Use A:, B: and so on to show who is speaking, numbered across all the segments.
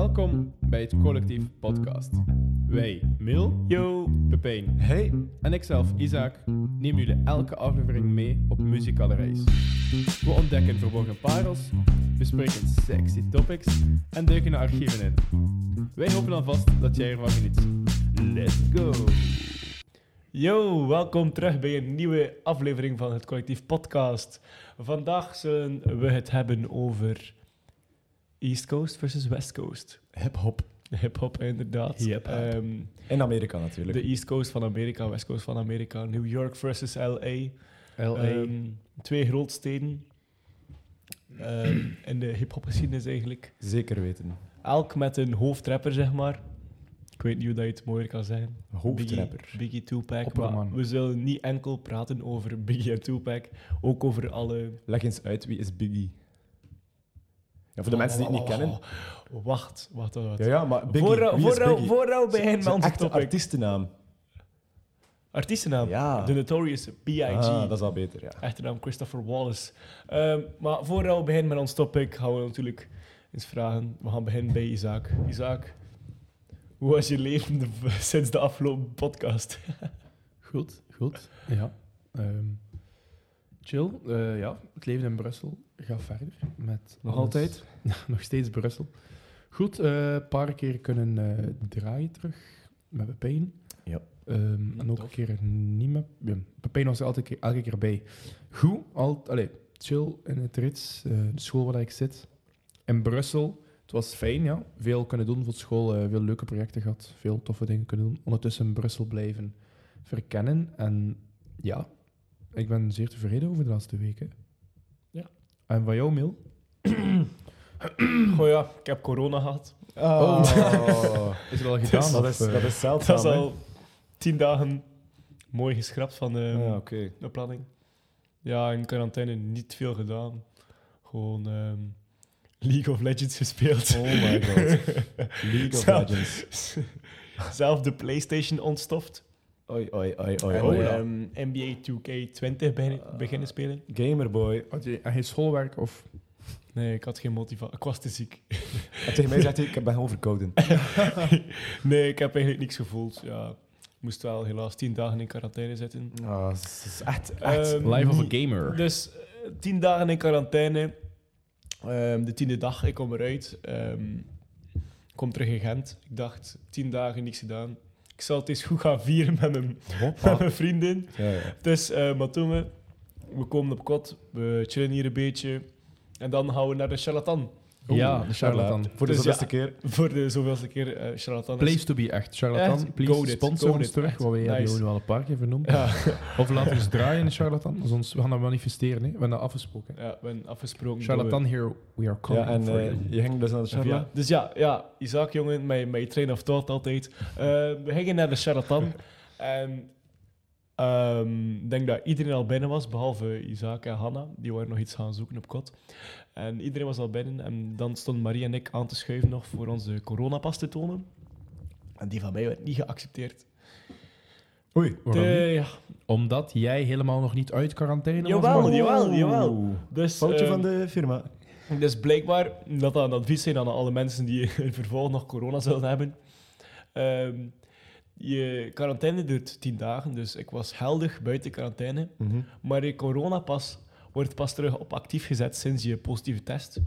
A: Welkom bij het Collectief Podcast. Wij, Mil, Yo, Pepijn
B: Hey,
A: en ikzelf, Isaac, nemen jullie elke aflevering mee op muzikale reis. We ontdekken verborgen parels, bespreken sexy topics en duiken naar archieven in. Wij hopen alvast dat jij ervan geniet. Let's go!
B: yo, welkom terug bij een nieuwe aflevering van het Collectief Podcast. Vandaag zullen we het hebben over East Coast versus West Coast.
C: Hip-hop.
B: Hip-hop, inderdaad.
C: Yep.
B: Ehm,
C: In Amerika natuurlijk.
B: de East Coast van Amerika, West Coast van Amerika, New York versus LA. Ehm, twee grootsteden ehm, in de hip-hop geschiedenis eigenlijk.
C: Zeker weten.
B: Elk met een hoofdrapper, zeg maar. Ik weet niet hoe dat je het mooier kan zeggen.
C: Hoofdrapper.
B: Biggie, Biggie Tupac.
D: Opperman.
B: Maar we zullen niet enkel praten over Biggie en Tupac, ook over alle...
C: Leg eens uit, wie is Biggie? Ja, voor de mensen die het niet kennen.
B: Oh, Wacht, wacht, wacht. wacht.
C: Ja, ja, maar Biggie,
B: Voor-
C: wie is
B: voor-
C: Biggie?
B: Vooral bij hen,
C: Zijn
B: man.
C: echte artiestennaam.
B: Artiestennaam.
C: Ja.
B: The Notorious B.I.G.
C: Ah, dat is al beter, ja.
B: Achternaam Christopher Wallace. Ehm, maar voordat we beginnen met ons topic, gaan we natuurlijk eens vragen. We gaan beginnen bij Isaac. Isaac, hoe was je leven de- sinds de afgelopen podcast?
D: Goed, goed. Ja. ehm, chill. Eh, ja, het leven in Brussel gaat verder. Met
B: Nog
D: alles.
B: altijd?
D: Nog steeds Brussel. Goed, eh, een paar keer kunnen eh, draaien terug met Pepijn.
C: Ja.
D: Ehm, en ook
B: tof.
D: een keer niet met... Ja, Pepijn was er altijd, keer- elke keer bij. Goed, al, allee, chill in het rits, eh, de school waar ik zit. In Brussel, het was fijn, ja. Veel kunnen doen voor school, eh, veel leuke projecten gehad, veel toffe dingen kunnen doen. Ondertussen in Brussel blijven verkennen. En ja, ik ben zeer tevreden over de laatste weken.
B: Ja.
D: En van jou, Mil?
B: Oh ja, ik heb corona gehad.
C: Oh.
D: Is het al eh,
B: gedaan,
C: dat, is, Ah, dat is zeldzaam,
B: Dat is
C: hè?
B: al tien dagen mooi geschrapt van de,
C: Ja, oké.
B: de planning. Ja, in quarantaine niet veel gedaan. Gewoon ehm, League of Legends gespeeld.
C: Oh my god. League of
B: Zo.
C: Legends.
B: Zelf de PlayStation ontstoft.
C: Oi, oi, oi, oi.
B: en
C: oi.
B: ehm, NBA 2K20
C: Ah.
B: begin- beginnen spelen.
C: Gamerboy.
D: Had je geen schoolwerk of...
B: Nee, ik had geen motivatie. Ik was te ziek.
C: En tegen mij zegt hij, ik ben gewoon verkouden.
B: nee, ik heb eigenlijk niks gevoeld. Ja, ik moest wel helaas tien dagen in quarantaine zitten.
C: Ah, dat is echt, echt.
B: Ehm,
D: Life of a
B: niet-
D: gamer.
B: Dus eh, tien dagen in quarantaine. Ehm, de tiende dag, ik kom eruit. Ehm, ik kom terug in Gent. Ik dacht, tien dagen niks gedaan. Ik zal het eens goed gaan vieren met mijn, met
C: Hoppa.
B: mijn vriendin.
C: Ja, ja.
B: Dus, eh Matome, we komen op kot. We chillen hier een beetje. En dan gaan we naar de charlatan.
D: ja,
C: Oeh,
D: de charlatan.
C: voilà. Voor de
B: Dus
C: zoveelste
B: ja.
C: keer.
B: Voor de zoveelste keer eh charlatan. is-
D: Place to be, echt. Charlatan,
B: Echt,
D: please
B: go dit,
D: sponsor
B: go
D: ons
B: dit,
D: terug.
B: echt.
D: Wat we hebben
B: Nice.
D: jullie nu al een paar keer vernoemd.
B: Ja,
D: Of laat ons draaien in charlatan. want Anders we gaan dat manifesteren. Hè. We hebben dat afgesproken. hè.
B: ja, we hebben afgesproken. dat we-
D: Charlatan, here we are coming
C: Ja, en
D: for
C: eh,
D: you.
C: je ging dus naar de
B: Ja.
C: charlatan.
B: Dus ja, ja, Isaac, jongen, mijn, mijn train of thought altijd. Eh, we gingen naar de charlatan. en ehm, ik denk dat iedereen al binnen was, behalve Isaac en Hanna. Die waren nog iets gaan zoeken op kot. En iedereen was al binnen. En dan stonden Marie en ik aan te schuiven nog voor onze coronapas te tonen. En die van mij werd niet geaccepteerd.
D: Oei, waarom
B: Eh,
D: niet?
B: ja.
D: Omdat jij helemaal nog niet uit quarantaine
B: Jawel,
D: was. maar-
B: jawel, jawel. Dus,
C: Foutje
B: ehm,
C: van de firma.
B: Dus blijkbaar, dat dat een advies zijn aan alle mensen die in vervolg nog corona zouden hebben. Ehm, je quarantaine duurt 10 dagen, dus ik was heldig buiten quarantaine. Maar je coronapas wordt pas terug op actief gezet sinds je positieve test.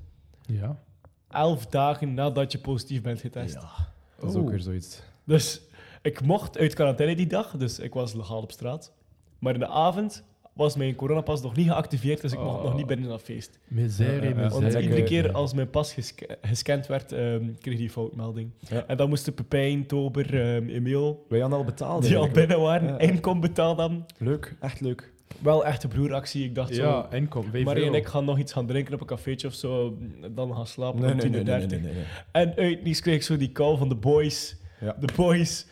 D: Ja.
B: 11 dagen nadat je positief bent getest.
C: Ja, dat is ook
D: Oeh.
C: weer zoiets.
B: Dus ik mocht uit quarantaine die dag, dus ik was legaal op straat. Maar in de avond was mijn coronapas nog niet geactiveerd, dus ik mocht
D: Oh.
B: nog niet binnen naar feest.
D: Miserie,
C: Ja, ja, ja.
B: Want
C: Zeker.
D: miserie.
B: iedere keer als mijn pas gesca- gescand werd, ehm, kreeg die foutmelding.
C: Ja.
B: En dan moesten Pepijn, Tober, ehm Emiel,
C: Wij hadden al betaald.
B: die al
C: eigenlijk.
B: binnen waren,
C: Ja.
B: inkom betaald hebben.
C: Leuk, echt leuk.
B: Wel echte broeractie. Ik dacht zo,
D: Ja, inkom. weet
B: Marie en
D: veel.
B: ik gaan nog iets gaan drinken op een cafeetje of zo. en Dan gaan slapen om 10.30.
C: nee.
B: En uit niets kreeg ik zo die call van de boys.
C: Ja.
B: De boys.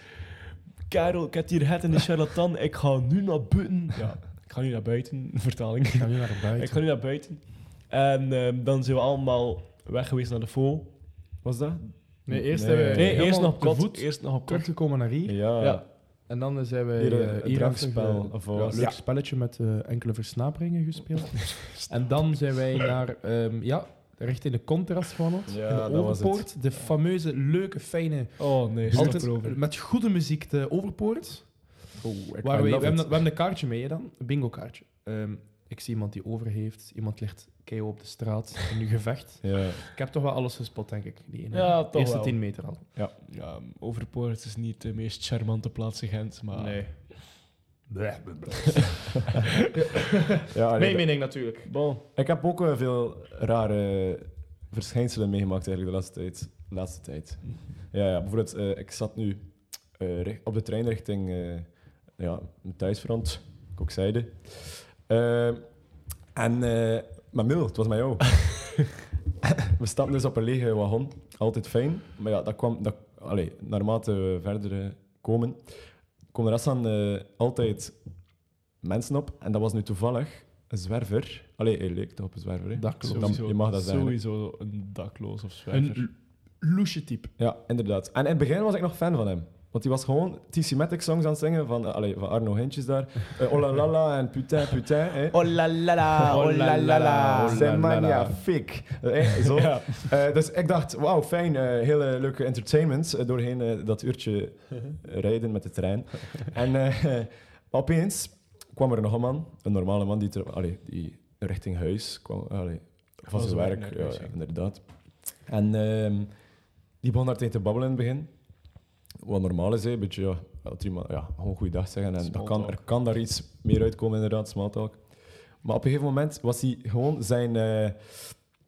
B: Karel, ik heb hier het in de charlatan. Ik ga nu naar buiten. Ja, ik ga nu naar buiten. Vertaling.
D: Ik ga nu naar buiten.
B: Ik ga nu naar buiten. En ehm, dan zijn we allemaal weg geweest naar de vol.
C: Was dat?
D: Nee, eerst
C: Nee.
D: hebben we
B: Nee, eerst
D: Eh, helemaal
B: nog op
D: te
B: kot.
D: voet
B: Eerst nog op kot.
D: teruggekomen naar hier.
C: Ja.
B: Ja.
D: En dan zijn we
C: Hier, eh,
D: eh,
C: het
D: hier
C: drankspel,
D: achter, eh,
C: of
D: ja,
C: wat?
D: leuk
C: Ja.
D: spelletje met eh, enkele versnaperingen gespeeld. en dan zijn wij naar ehm, ja, recht in de contrast gewandeld.
C: Ja,
D: in de
C: dat was het.
D: Overpoort, de fameuze, leuke, fijne...
B: Oh nee, stop
D: Altijd
B: erover.
D: met goede muziek, de Overpoort.
C: Oh, ik
D: Waar we, we,
C: love
D: hebben, we
C: it.
D: hebben een kaartje mee hè, dan, een bingo kaartje. Ehm, ik zie iemand die over heeft, iemand ligt keihard op de straat in een gevecht.
C: Ja.
D: Ik heb toch wel alles gespot, denk ik. Die ene,
B: Ja, toch
D: eerste
B: wel.
D: 10 meter al.
B: Ja, Overpoort is niet de meest charmante plaats in Gent, maar...
C: Ja, nee,
D: Mijn mening natuurlijk.
B: Bon.
C: Ik heb ook eh, veel rare verschijnselen meegemaakt eigenlijk de laatste tijd. Laatste tijd. Ja, ja, bijvoorbeeld, eh, ik zat nu eh, richt- op de trein richting eh ja, mijn thuisfront, Kokzijde. Eh, en eh maar Mil, het was met jou. We stapten dus op een lege wagon. Altijd fijn. Maar ja, dat kwam... Dat, allee, naarmate we verder eh, komen, komen er aan eh, altijd mensen op. En dat was nu toevallig een zwerver. Allee, hij leek toch op een zwerver, hè?
D: Dat klopt.
C: Dan- je mag dat zeggen.
B: Sowieso een dakloos of zwerver.
D: Een loesje type.
C: Ja, inderdaad. En in het begin was ik nog fan van hem. Want hij was gewoon TC Matic songs aan het zingen van, eh, allee, van Arno Hintjes daar. Eh, oh la la la en putain, putain. hè.
B: Oh la la la,
D: oh la la la.
C: Ah,
D: Oh
C: zijn
D: la la la.
C: magnifiek. Eh, zo.
B: Ja.
C: Eh, dus ik dacht, wauw, fijn, eh, hele leuke entertainment eh, doorheen eh, dat uurtje rijden met de trein. en eh, opeens kwam er nog een man, een normale man, die, ter, allee, die richting huis kwam, allee, van zijn werk,
B: naar
C: ja,
B: huis ging.
C: inderdaad. En ehm, die begon daar tegen te babbelen in het begin. Wat normaal is, hè, een beetje, ja, als iemand- ja, gewoon goeiedag zeggen. En dat kan, er
B: Smalltalk.
C: kan daar iets meer uitkomen, inderdaad, smalltalk. Maar op een gegeven moment was hij gewoon zijn, eh,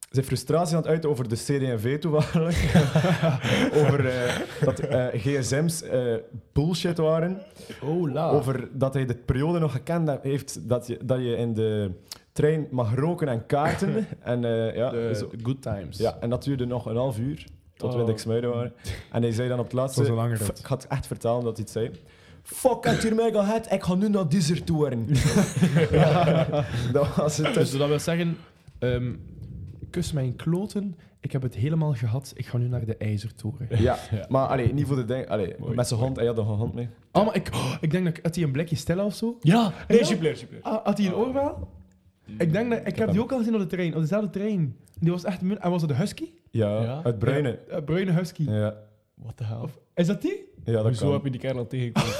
C: zijn frustratie aan het uiten over de CD&V toevallig. over eh, dat eh, gsm's eh, bullshit waren.
D: Oh, la.
C: Over dat hij de periode nog gekend he- heeft dat je, dat je in de trein mag roken en kaarten. en, eh, ja,
D: de,
C: zo.
D: de good times.
C: ja, en dat duurde nog een half uur, tot we in
B: Oh.
C: de Xmuiden waren. En hij zei dan op het laatste...
D: Het was een lange
C: F-
D: rit.
C: Ik had echt vertalen dat hij het zei. Fuck, had hier mij gehad, ik ga nu naar Deezer toe worden. ja, dat was het.
D: Dus dat wil zeggen, ehm, kus mijn kloten, ik heb het helemaal gehad, ik ga nu naar de IJzertoren.
C: Ja,
B: Ja.
C: maar allee, niet voor de ding. Allee,
B: Mooi.
C: met zijn hond, hij had nog een hond mee.
D: Oh, maar ik, oh, ik denk dat ik, had hij een blikje stella of zo?
B: Ja,
D: Ja?
B: nee, alsjeblieft, alsjeblieft.
D: Ah, had hij een oorbel? Ik denk dat, ik, heb die
C: hem.
D: ook al gezien op de trein, op dezelfde trein. Die was echt, mun- en was het de husky?
C: Ja,
B: Ja?
C: uit Bruinen.
D: Eh, bruine husky.
C: Ja, ja.
B: What the hell?
D: Is dat die?
C: dat
B: Hoezo
C: kan.
B: heb je die kerel tegengekomen?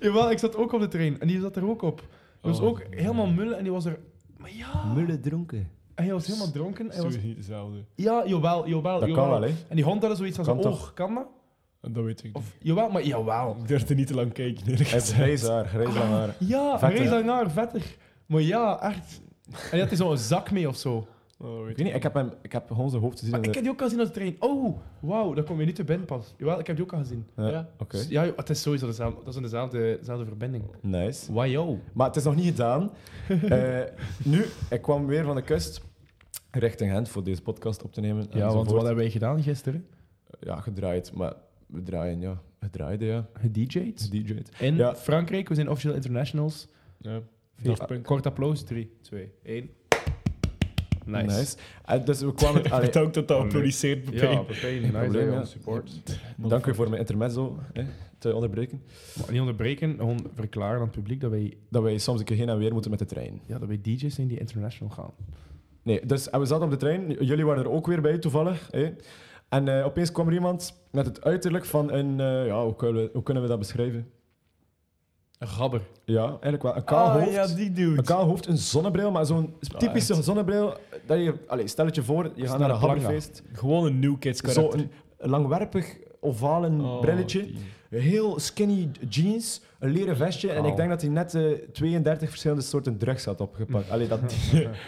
D: Jawel, ik zat ook op de trein en die zat er ook op. Die was
B: Oh.
D: ook helemaal mullen en die was er. Maar ja,
C: Mullen dronken.
D: en hij was helemaal dronken. Hij was,
B: Sowieso niet dezelfde.
D: ja, jawel, jawel.
C: Dat kan
D: jawel.
C: wel, hè?
D: En die hond had zoiets van
C: Kan
D: zijn
C: toch?
D: oog, kan dat?
B: En dat weet ik niet.
D: Of, jawel, maar jawel.
B: Ik durfde niet te lang kijken, eerlijk
C: Hij
B: gezegd.
C: heeft grijs haar, grijs lang
B: Ah.
C: haar.
D: Ja,
C: Vetter.
D: race naar vetter. Maar ja, echt. En die had hij zo'n zak mee of zo.
B: Oh, weet
C: Ik weet niet, ik heb, hem, ik heb gewoon zijn hoofd gezien.
D: Maar
C: in
D: ik
C: de-
D: heb die ook al gezien op de trein. Oh, wauw, dat kom je niet te binnen pas. Jawel, ik heb die ook al gezien.
C: Ja,
B: Ja.
C: Oké,
D: Dus Ja, joh, het is sowieso dezelfde, dat is een dezelfde, dezelfde verbinding.
C: nice.
D: Wow, yo.
C: Maar het is nog niet gedaan. Eh, nu, ik kwam weer van de kust richting Gent voor deze podcast op te nemen. enzovoort.
D: wij gedaan gisteren?
C: Ja, gedraaid, maar we draaien, ja. Gedraaide, ja.
D: DJ's.
C: DJ'd.
D: In
C: Ja.
D: Frankrijk, we zijn officieel internationals.
B: Ja.
D: Vier-
B: Daft Punk.
D: Kort applaus. 3, 2, 1. Nice.
C: Eh, dus we kwamen... allee,
B: Bedankt dat dat
D: Oh, nee.
B: applaudisseert,
D: Ja,
B: Pepijn.
D: Pepijn,
C: Geen
D: nice
C: probleem,
D: dat je
C: ja.
D: ons support.
C: dank u voor mijn intermezzo, hè, te onderbreken.
D: Maar niet onderbreken, gewoon verklaren aan het publiek dat wij,
C: Dat wij soms een keer heen en weer moeten met de trein.
D: ja, dat wij DJ's zijn die international gaan.
C: Nee, dus en we zaten op de trein. J- Jullie waren er ook weer bij, toevallig. Hè? En eh, opeens kwam er iemand met het uiterlijk van een... eh, ja, hoe kunnen, we, hoe kunnen we dat beschrijven?
D: Een gabber.
C: Ja, eigenlijk wel. Een kaal hoofd.
B: Ah, ja, die dude.
C: Een kaal hoofd, een zonnebril, maar zo'n
B: Ja,
C: typische
B: echt.
C: zonnebril. Dat je, allee, stel het je voor, je gaat
D: naar
C: naar
D: een
C: een
D: planga.
C: habberfeest.
B: Gewoon een New Kids karakter.
C: Zo'n langwerpig, ovalen
B: Oh,
C: brilletje.
B: die. Oh.
C: Heel skinny jeans, een leren vestje. En
D: Kaal.
C: ik denk dat hij net eh, 32 verschillende soorten drugs had opgepakt. Allee, dat...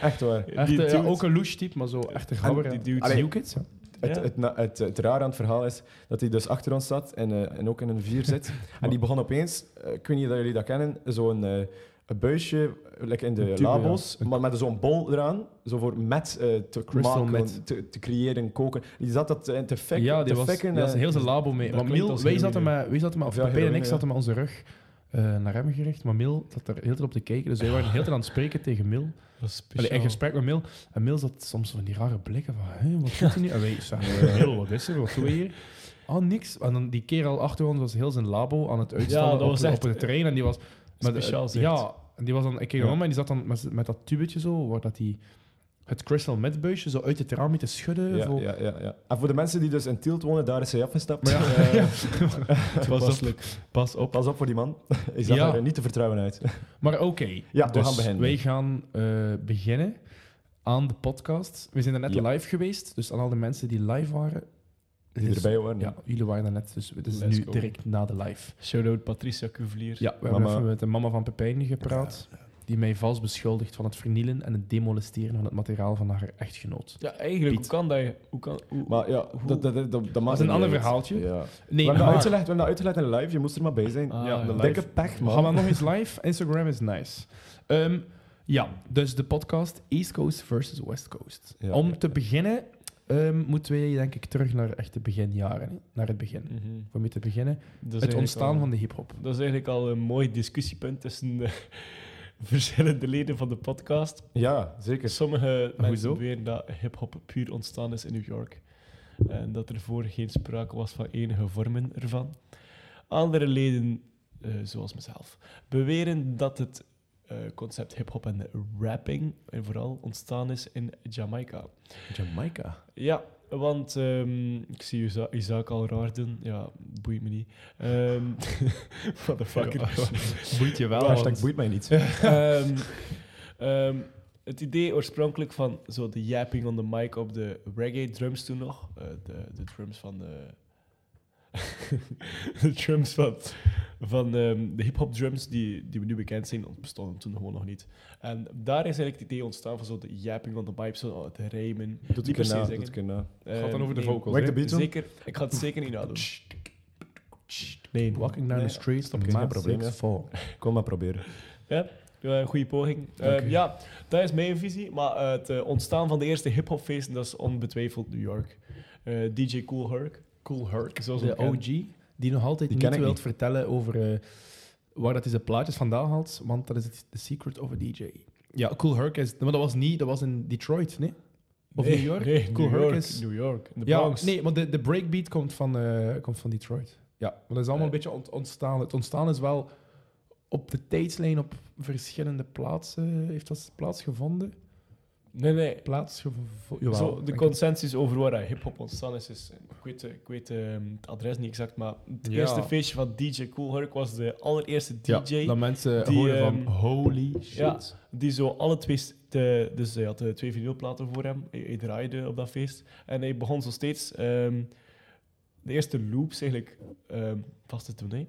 C: Echt waar.
D: Echt,
B: Die
D: eh, ja,
B: dude.
D: ook een louche type, maar zo echt een gabber.
B: En die
D: ja.
B: dude-
D: Allee,
C: Allee.
D: New Kids, ja.
C: Het,
B: Ja.
C: het, na- het, het raar aan het verhaal is dat hij dus achter ons zat en, eh, en ook in een vier zit. en die begon opeens, eh, ik weet niet of jullie dat kennen, zo'n eh, een buisje eh, like in de
D: Een tube,
C: labo's, maar met zo'n bol eraan, zo voor met eh, te
D: Crystal
C: maken,
D: meth.
C: Te, te creëren, koken. Die zat dat eh, te fikken.
D: ja, die
C: te
D: was,
C: fikken,
D: die
C: eh,
D: was heel zijn labo mee.
B: dat
D: Maar
B: klinkt
D: Miel,
B: als
D: wij
B: heroïne.
D: zaten met, wij zaten met, of
C: Ja,
D: Pepijn en ik
C: heroïne,
D: zaten met onze rug eh, naar hem gericht. Maar Mil zat er heel de tijd op te kijken. Dus wij waren heel de tijd aan het spreken tegen Mil.
B: Dat is
D: Allee,
B: speciaal.
D: in gesprek met Mil. En Mil zat soms van die rare blikken van, hè, wat doet hij nu? En wij zagen, Mil, wat is er? Wat doe je hier? Ah, niks. En dan die kerel achter ons was heel zijn labo aan het uitstallen
B: Ja, dat was
D: op,
B: echt-
D: op de trein. En die was... met-
B: Speciaal zicht.
D: Ja, en die was dan... Ik keek
B: Ja.
D: om en die zat dan met, met dat tubetje zo, waar dat die... het crystal meth buisje zo uit het raam mee te schudden.
C: Ja,
D: voor-
C: ja, ja, ja. En voor de mensen die dus in Tielt wonen, daar is hij afgestapt.
D: Maar
C: Eh,
D: Pas op. Pas op.
C: Pas op voor die man. Hij zag
D: Ja.
C: er niet te vertrouwen uit.
D: Maar oké. Dus
C: Ja, we gaan beginnen.
D: Wij gaan eh, beginnen aan de podcast. We zijn er net
C: Ja.
D: live geweest, dus aan al de mensen die live waren.
C: Die
D: dus-
C: erbij waren.
D: Ja, jullie waren er net, dus het is
B: Let's
D: nu
B: go.
D: direct na de live.
B: Shout-out Patricia Cuvelier.
D: Ja, we hebben
C: Mama.
D: even met de mama van Pepijn gepraat, die mij vals beschuldigt van het vernielen en het demolesteren van het materiaal van haar echtgenoot.
B: Ja, eigenlijk,
D: Piet.
B: hoe kan dat? Hoe kan, hoe,
C: Maar ja,
B: hoe-
C: dat, dat, dat, dat, maakt
D: is een
C: niet
D: ander
C: uit.
D: verhaaltje.
C: Ja.
D: Nee,
C: we, hebben dat
D: maar-
C: uitgelegd, we hebben dat uitgelegd in de live, je moest er maar bij zijn.
B: Ah,
D: ja,
B: ja,
D: de
B: live.
C: Dikke pech,
D: We
C: man.
D: gaan dat nog eens live. Instagram is nice. Ehm, ja, dus de podcast East Coast versus West Coast.
C: Ja.
D: Om te beginnen ehm, moeten we denk ik terug naar echt de beginjaren. hè. Naar het begin.
B: Mhm.
D: Om mee te beginnen.
B: Dat is
D: het
B: eigenlijk
D: ontstaan
B: al-
D: van de hip-hop.
B: Dat is eigenlijk al een mooi discussiepunt tussen de verschillende leden van de podcast.
C: Ja, zeker.
B: Sommige
D: Hoezo?
B: mensen beweren dat hip-hop puur ontstaan is in New York. En dat er voor geen sprake was van enige vormen ervan. Andere leden, eh, zoals mezelf, beweren dat het eh, concept hip-hop en rapping eh, vooral ontstaan is in Jamaica.
C: Jamaica.
B: Ja, want ehm, ik zie Isa- Isaac al raar doen. Ja, boeit me niet. Ehm motherfucker.
D: Boeit je wel.
C: Hashtag boeit mij niet.
B: Ehm, ehm, het idee oorspronkelijk van zo de yapping on the mic op de reggae drums toen nog. eh, de, de drums van de... de drums van, van ehm, de hip-hop drums die, die we nu bekend zijn, bestonden toen gewoon nog niet. En daar is eigenlijk het idee ontstaan van zo de yapping on the mic, zo het rijmen.
C: Doet
B: Niet
C: ik
B: per se
C: erna,
B: zingen.
C: doet ik erna.
D: Het gaat dan over de
B: nee.
D: vocals.
C: Wack the
D: hè?
C: beat doen?
B: Zeker, ik ga het zeker niet nadoen. Nee,
D: Walking down the street. Stop,
C: geen probleem, ja. Kom maar proberen.
B: Eh, goede poging. Eh,
D: Dank u.
B: ja, dat is mijn visie. Maar eh, het eh, ontstaan van de eerste hip-hopfeesten, dat is onbetwijfeld New York. Eh, DJ Cool Herc. Cool Herc, zoals we
D: De
B: hem
D: OG, die nog altijd
C: Die ken
D: niet
C: ik
D: wilt
C: niet.
D: vertellen over eh, waar dat deze plaatjes vandaan haalt, want dat is het the secret of a DJ. Ja, Cool Herc is... Maar dat was niet... Dat was in Detroit, nee? Of
B: Nee,
D: New York?
B: Nee,
D: cool
B: New
D: Herc
B: York.
D: is...
B: New York. in De
D: ja,
B: Bronx.
D: nee, want de, de breakbeat komt van, eh, komt van Detroit. Ja, maar dat is allemaal
B: Ja. Eh.
D: een beetje ont- ontstaan. Het ontstaan is wel op de tijdslijn op verschillende plaatsen. Heeft dat plaatsgevonden?
B: Nee, nee.
D: Plaatsgevonden? Jawel.
B: Zo, de
D: denk
B: consensus over waar dat hip-hop ontstaan is, is ik weet, eh, ik weet eh, het adres niet exact, maar het
D: Ja.
B: eerste feestje van DJ Cool Herc was de allereerste DJ.
D: ik. Ja, dat mensen
B: die,
D: horen
B: ehm,
D: van holy shit.
B: ja. Die zo alle twee... st- De, dus hij had eh, twee vinylplaten voor hem. Hij, hij draaide op dat feest. En hij begon zo steeds ehm, de eerste loops eigenlijk ehm, vast te doen. Hè?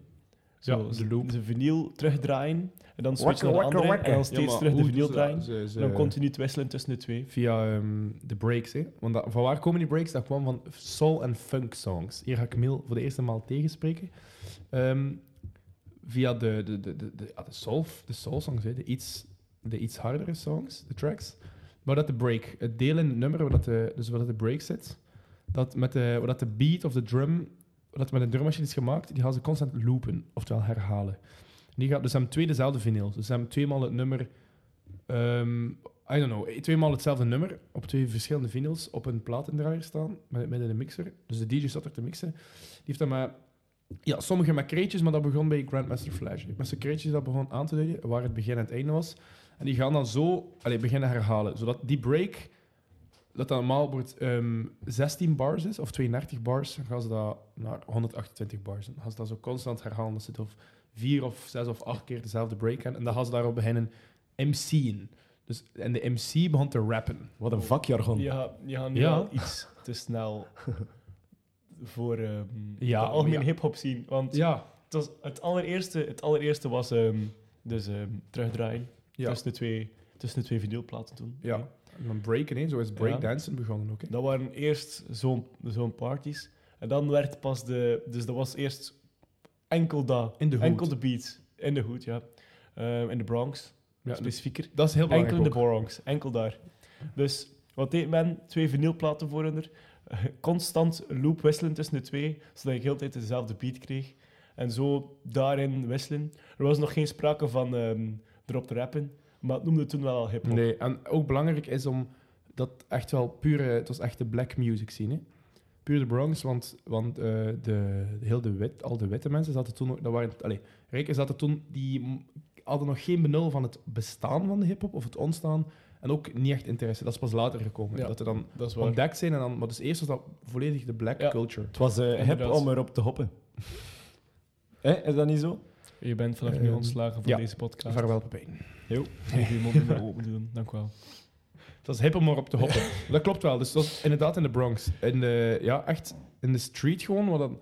B: Zo,
D: Ja, de
B: z-
D: loop.
B: De vinyl terugdraaien. En dan switchen
C: Wakker,
B: naar de andere.
C: wakker, wakker.
B: En dan
C: Ja,
B: steeds
D: maar
B: terug de
D: hoe dus,
B: vinyl
D: ze-
B: draaien.
D: ze- ze-
B: En dan continu te wisselen tussen de twee.
D: Via ehm, de breaks, hè? Want dat- van waar komen die breaks? Dat kwam van soul en funk songs. Hier ga ik Mil voor de eerste maal tegenspreken. Ehm, via de, de, de, de, de, ah, de, soul, de soul songs, hè? De, iets, de iets hardere songs, de tracks. Waar dat de break, het deel in het nummer waar dat de, dus waar dat de break zit, dat met de, waar dat de beat of de drum, waar dat met een drummachine is gemaakt, die gaan ze constant loopen, oftewel herhalen. En Die gaat, dus ze hebben twee dezelfde vinyls. Dus ze hebben tweemaal het nummer ehm, I don't know, eh, tweemaal hetzelfde nummer op twee verschillende vinyls op een platendraaier staan, met, met een mixer. Dus de DJ zat er te mixen. Die heeft dan maar, ja, sommige met kreetjes, maar dat begon bij Grandmaster Flash. hè. Met zijn kreetjes dat begon aan te duiden waar het begin en het einde was. En die gaan dan zo allee, beginnen herhalen, zodat die break, dat dat normaal wordt ehm, 16 bars is, of 32 bars, dan gaan ze dat naar 128 bars. Dan gaan ze dat zo constant herhalen, dat ze het of vier of zes of acht keer dezelfde break hebben. En dan gaan ze daarop beginnen MC'en. Dus, en de MC begon te rappen.
C: Wat een vakjargon.
B: Je gaat, je gaat nu
D: Ja.
B: al iets te snel voor ehm
D: Ja, oh,
B: de algemene
D: ja.
B: hip-hop zien. Want
D: Ja.
B: het, was het, allereerste, het allereerste was ehm, dus ehm, terugdraaien.
D: Ja.
B: Tussen, de twee, tussen de twee videoplaten toen.
D: Dus, ja. En dan breaken, hè. zo is breakdancen begonnen ook. hè.
B: Dat waren eerst zo'n zo'n parties. En dan werd pas de... Dus dat was eerst enkel dat.
D: In de hood.
B: Enkel de beat. In de hoed, ja. Ehm, in de Bronx,
D: Ja,
B: specifieker.
D: Dus dat is heel
B: Enkel
D: belangrijk
B: in de
D: ook.
B: Bronx. Enkel daar. Dus wat deed men? Twee vinylplaten voor onder. Constant loop wisselen tussen de twee, zodat je heel de tijd dezelfde beat kreeg. En zo daarin wisselen. Er was nog geen sprake van ehm, erop te rappen, maar het noemde toen wel al hip-hop.
D: Nee, en ook belangrijk is om dat echt wel pure, het was echt de black music scene. Hè? Puur de Bronx, want, want eh, de, heel de wit, al de witte mensen zaten toen ook, dat waren, allee, rijken zaten toen, die m- hadden nog geen benul van het bestaan van de hip-hop of het ontstaan. En ook niet echt interesse. Dat is pas later gekomen.
B: Ja.
D: Dat er dan
B: Dat is waar.
D: ontdekt zijn. En dan, maar dus eerst was dat volledig de black
B: Ja.
D: culture.
C: Het was eh hip
B: Inderdaad.
C: om erop te hoppen. Hè, is dat niet zo?
B: Je bent vanaf nu
D: Ehm,
B: ontslagen van
D: ja.
B: deze podcast.
D: Vaarwel, Pepijn.
B: Ik moet je mond niet meer open doen. Dank u wel.
D: Het was hip om erop te hoppen. dat klopt wel. Dus dat was inderdaad in de Bronx. In de, ja, echt in de street gewoon. Waar dan,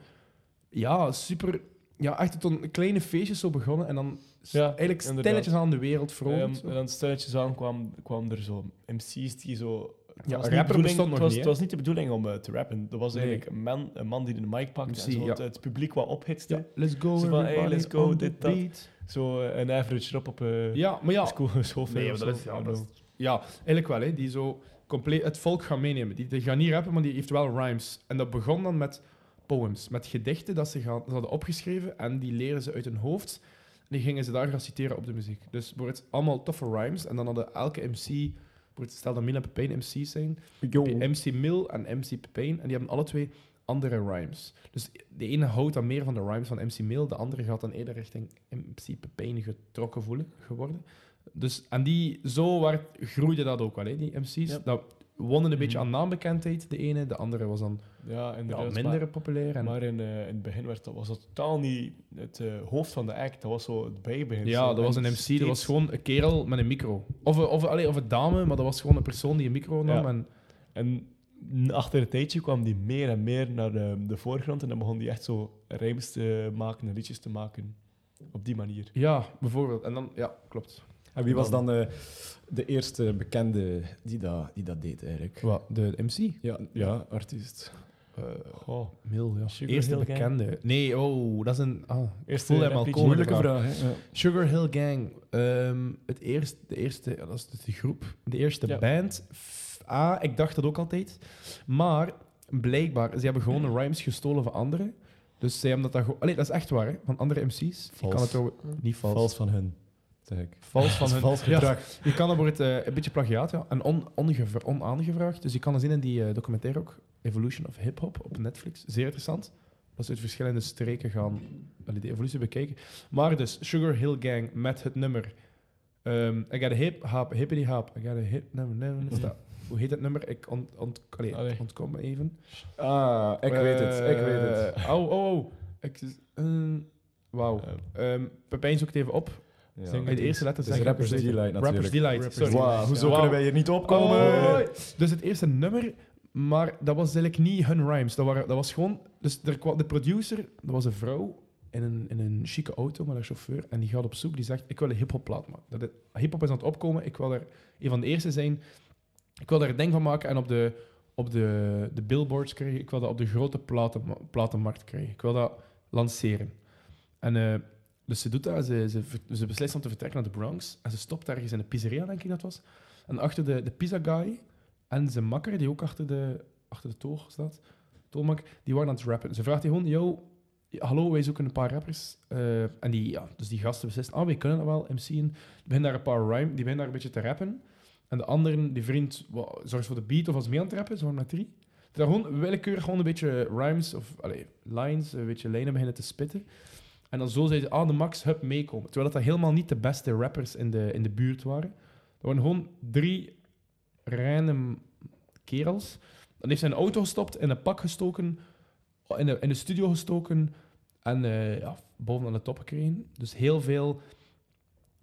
D: ja, super... Ja, echt tot een kleine feestjes zo begonnen. En dan s-
B: Ja,
D: eigenlijk
B: inderdaad.
D: stilletjes aan de wereld
B: Ehm,
D: veroverd.
B: en dan stelletjes aan kwam, kwam er zo MC's die zo... het
D: Ja,
B: was
D: rapper
B: niet de bedoeling-
D: bestond nog
B: het was,
D: niet, hè?
B: Het was niet de bedoeling om eh, te rappen. Er was
D: Nee.
B: eigenlijk een man, een man die de mic pakte
D: MC,
B: en zo het,
D: ja.
B: het publiek wat ophitste.
D: ja, let's go,
B: Zo van, hey,
D: everybody
B: let's go,
D: on the
B: dit, dat.
D: beat.
B: Zo eh, een average rap op eh
D: Ja, maar ja...
B: school, school
D: Nee, maar dat is... Ja, dat is- ja, eigenlijk wel. Hè, die zo compleet het volk gaan meenemen. Die, die gaan niet rappen, maar die heeft wel rhymes. En dat begon dan met poems. Met gedichten dat ze, gaan, ze hadden opgeschreven. En die leren ze uit hun hoofd. En die gingen ze daar gaan citeren op de muziek. Dus wordt het allemaal toffe rhymes. En dan hadden elke MC, wordt, stel dat Mina Pepijn MC's zijn, MC Mil en MC Pepijn. En die hebben alle twee andere rhymes. Dus de ene houdt dan meer van de rhymes van MC Mil, de andere gaat dan eerder richting MC Pepijn getrokken voelen, geworden. Dus en die, zo werd, groeide dat ook wel, hè, die MC's.
B: Ja.
D: Dat wonnen een
B: Mhm.
D: beetje aan naambekendheid, de ene. De andere was dan
B: Ja,
D: ja,
B: inderdaad.
D: minder populair.
B: Maar,
D: En,
B: maar in, eh, in het begin werd dat, was dat totaal niet het eh, hoofd van de act. Dat was zo het bijbegin.
D: Ja,
B: Zo.
D: dat was
B: En
D: een MC, dat was
B: steeds-
D: gewoon een kerel met een micro. Of, een- of, allee, of een dame, maar dat was gewoon een persoon die een micro nam.
B: Ja.
D: En,
B: En achter een tijdje kwam die meer en meer naar de, de voorgrond en dan begon die echt zo rijms te maken en liedjes te maken. Op die manier.
D: ja, bijvoorbeeld. En dan, ja, klopt.
C: En wie was dan eh, de eerste bekende die dat, die dat deed eigenlijk?
D: Wat, de MC?
C: Ja, ja artiest.
B: Goh.
D: Mil, ja.
B: Sugar
D: Eerste
B: Hill Gang.
D: bekende. Nee, oh, dat is een... Ah,
B: Eerste
D: voel hem al
B: repliek.
D: komen.
C: Moeilijke vraag, hè? Ja.
D: Sugar Hill Gang. Ehm, het eerst, de eerste, ja, dat is dus de groep, de eerste
B: Ja.
D: band. F- Ah, ik dacht dat ook altijd. Maar blijkbaar, ze hebben gewoon de rhymes gestolen van anderen. Dus zij hebben dat dan gewoon... Allee, dat is echt waar, hè? Van andere MC's. Je
C: Vals.
D: kan het ook niet vals.
C: Vals. van hun, zeg ik.
D: Vals van hun.
C: Vals
D: Ja,
C: gedrag.
D: je kan er wordt eh, een beetje plagiaat, ja. En on, ongevra- onaangevraagd. Dus je kan dat zien in die eh, documentaire ook. Evolution of Hip Hop op Netflix. Zeer interessant. Dat ze uit verschillende streken gaan allee, de evolutie bekijken. Maar dus, Sugar Hill Gang met het nummer. ehm I got a hip hop, hippity hop. I got a hip, no, no, no, is dat-
C: Mhm.
D: Hoe heet dat nummer? Ik ont, ont, allee,
B: Allee.
D: ontkom me even.
C: Ah, ik weet het, ik weet het.
D: Eh, Oh, oh, oh. Ik, eh, Wauw.
B: Eh,
D: Ehm Pepijn zoekt het even op.
C: Ja.
B: Zing
D: De eerste letter
C: Dus
D: zeg ik
C: Rappers
D: zeker.
C: Delight
D: Rappers
C: natuurlijk.
D: Delight.
B: Rappers
D: Sorry.
C: Wauw, hoezo
D: Ja.
C: kunnen wij hier niet opkomen?
D: Oh. Dus het eerste nummer, maar dat was eigenlijk niet hun rhymes. Dat, waren, dat was gewoon... Dus er kwam, de producer, dat was een vrouw in een, in een chique auto met haar chauffeur. En die gaat op zoek, die zegt, ik wil een hip-hop plaat maken. Dat het- Hip-hop is aan het opkomen, ik wil er een van de eerste zijn. Ik wil daar een ding van maken en op de, op de, de billboards krijgen. Ik wil dat op de grote platen, platenmarkt krijgen. Ik wil dat lanceren. En... eh, dus ze doet dat, ze, ze, ver- ze beslist om te vertrekken naar de Bronx. En ze stopt ergens in een pizzeria, denk ik dat was. En achter de, de pizza guy en zijn makker, die ook achter de, achter de toog staat, tolmak, die waren aan het rappen. Ze vraagt die gewoon, yo, hallo, wij zoeken een paar rappers. Eh, en die, ja, dus die gasten beslissen, ah, wij kunnen dat wel, MC'en. Die beginnen daar een paar rhyme, die beginnen daar een beetje te rappen. En de anderen, die vriend, wa- zorgt voor de beat of was mee aan het rappen, zo waren met drie. Die daar gewoon willekeurig gewoon een beetje rhymes of allee, lines, een beetje lijnen beginnen te spitten. En dan zo zeiden ze, ah, de Max Hub meekomen. Terwijl dat, dat helemaal niet de beste rappers in de, in de buurt waren. Dat waren gewoon drie random kerels. Dan heeft zijn auto gestopt, in een pak gestoken, in de, in de studio gestoken en eh, ja, bovenaan de top gekregen. Dus heel veel...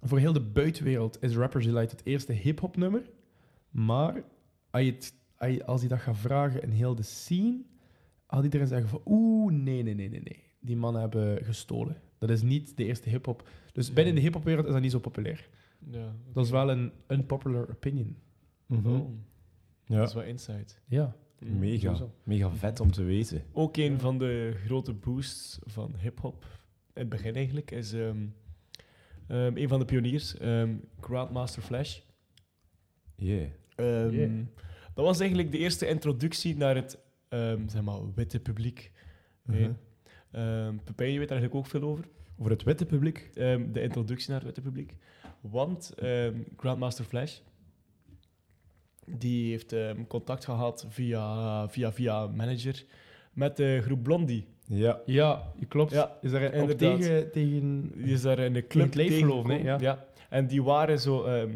D: Voor heel de buitenwereld is Rappers Delight het eerste hip-hop nummer. Maar als je, het- als je- als je dat gaat vragen in heel de scene, had iedereen zeggen van oeh, nee, nee, nee, nee, nee. Die mannen hebben gestolen. Dat is niet de eerste hip-hop. Dus binnen de hip-hopwereld is dat niet zo populair.
B: ja.
D: Dat is wel een unpopular opinion.
C: Mhm.
B: Oh, Dat
C: Ja.
B: is wel insight.
D: Ja.
B: Mm.
C: Mega,
D: Sowieso.
C: mega vet om te weten.
B: Ook een van de grote boosts van hip-hop in het begin eigenlijk is ehm, ehm, een van de pioniers, ehm, Grandmaster Flash.
C: Yeah.
B: Ehm,
D: Yeah.
B: Dat was eigenlijk de eerste introductie naar het ehm, zeg maar, witte publiek.
C: Mhm.
B: Nee. Ehm, Pepijn, je weet daar eigenlijk ook veel over.
C: Over het witte publiek.
B: Ehm, de introductie naar het witte publiek. Want ehm, Grandmaster Flash die heeft ehm, contact gehad via, via, via manager met de groep Blondie.
C: Ja.
D: Ja, je klopt.
B: Ja,
D: is daar ook
B: inderdaad.
D: tegen, tegen...
B: Die is daar in de club
D: het leef
B: tegengekomen.
D: geloven, hè?
B: Ja. En die waren zo... ehm,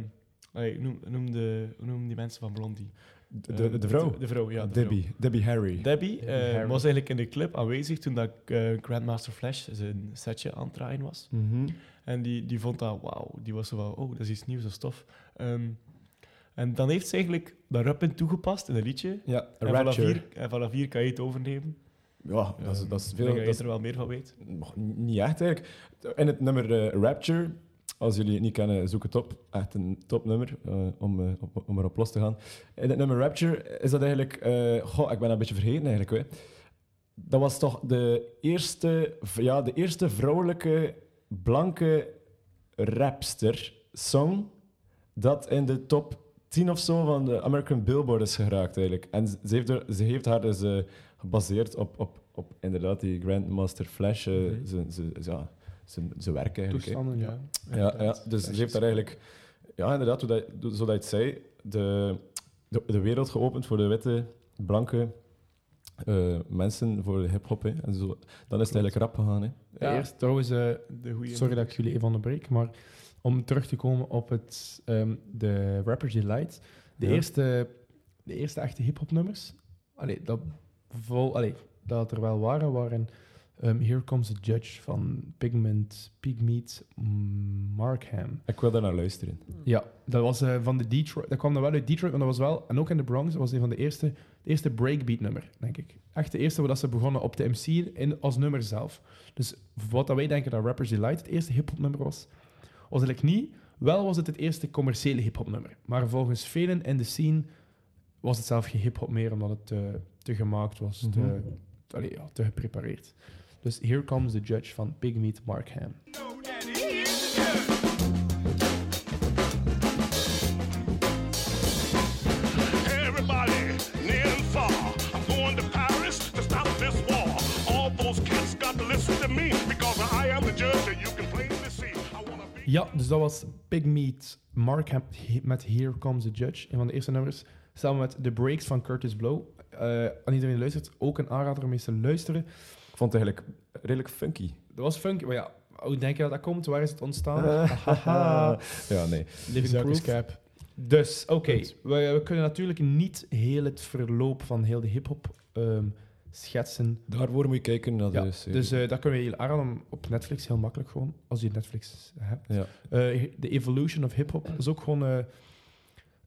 B: Allee, ik noem, noem, de, hoe noemen die mensen van Blondie?
C: De,
B: Eh,
C: de, de vrouw?
B: De, vrouw, ja. de
C: Debbie. Debbie Harry.
B: vrouw. Debbie eh,
D: Harry.
B: was eigenlijk in de clip aanwezig toen dat eh, Grandmaster Flash zijn setje aan het draaien was.
C: Mhm.
B: En die, die vond dat, wauw, die was zo van, oh, dat is iets nieuws, dat is tof. Ehm, en dan heeft ze eigenlijk dat rap in toegepast in een liedje.
C: Ja,
B: En vanaf,
C: Rapture.
B: hier, en vanaf hier kan je het overnemen. Ehm,
C: Ja, dat is, dat is
B: Ik denk
C: veel...
B: dat
C: Dat
B: je
C: is,
B: er wel meer van weet.
C: nog niet echt eigenlijk. En het nummer eh, Rapture, als jullie het niet kennen, zoek het op. Echt een topnummer eh, om, eh, op- om erop los te gaan. In het nummer Rapture is dat eigenlijk... eh, goh, ik ben dat een beetje vergeten eigenlijk. Hè. Dat was toch de eerste, v- ja, de eerste vrouwelijke, blanke rapster song dat in de top 10 of zo van de American Billboard is geraakt eigenlijk. En ze heeft, er, ze heeft haar dus eh, gebaseerd op, op, op inderdaad die Grandmaster Flash, eh,
B: Mhm.
C: zijn- zijn- ja, zijn- zijn werk eigenlijk. hè.
D: Toestanden, ja.
C: Ja, ja, dus ze heeft daar eigenlijk, ja, inderdaad, hoe dat, zoals je het zei, de, de, de wereld geopend voor de witte, blanke eh, mensen, voor de hip-hop. hè. En zo, dan is het eigenlijk rap gegaan. Hè.
B: Ja.
D: Eerst trouwens, eh,
B: De goede
D: sorry dat ik jullie even onderbreek, maar om terug te komen op het, ehm, de Rapper's Delight. De,
C: Ja.
D: eerste, de eerste echte hip-hop nummers, allee, dat, vol, allee, dat er wel waren, waren ehm, Here Comes the Judge van Pigment, Pigmeat, mm, Markham.
C: Ik wil daar naar luisteren.
D: Ja, dat was eh, van de Detroit. Dat kwam dan wel uit Detroit, maar dat was wel, en ook in de Bronx, dat was een van de eerste, de eerste breakbeat nummer, denk ik. Echt de eerste waar dat ze begonnen op de MC in, als nummer zelf. Dus wat dat wij denken dat Rappers Delight het eerste hip-hop nummer was, was eigenlijk niet. Wel was het het eerste commerciële hip-hop nummer. Maar volgens velen in de scene was het zelf geen hip-hop meer, omdat het eh, te gemaakt was, te,
C: Mhm.
D: allee, ja, te geprepareerd. Dus Here Comes the Judge van Big Meat Markham.
E: Everybody, near and far, I'm going to Paris to stop this war. All those cats got to listen to me because I am the judge that you can plainly see. I wanna be.
D: Ja, dus dat was Pigmeat Markham he- met Here Comes the Judge, een van de eerste nummers. Samen met The Breaks van Curtis Blow. Eh, aan iedereen die luistert, ook een aanrader om eens te luisteren.
C: Ik vond het eigenlijk redelijk funky.
D: Dat was funky, maar ja, hoe denk je dat dat komt? Waar is het ontstaan?
B: Ah,
D: Hahaha.
C: ja, nee.
D: Living proof. Dus, oké, we, we kunnen natuurlijk niet heel het verloop van heel de hip-hop ehm, schetsen.
C: Daarvoor moet je kijken naar de
D: Ja,
C: serie.
D: dus eh dat kunnen we heel aanraden op Netflix, heel makkelijk gewoon, als je Netflix hebt.
C: Ja.
D: Eh, de evolution of hip-hop is ook gewoon eh,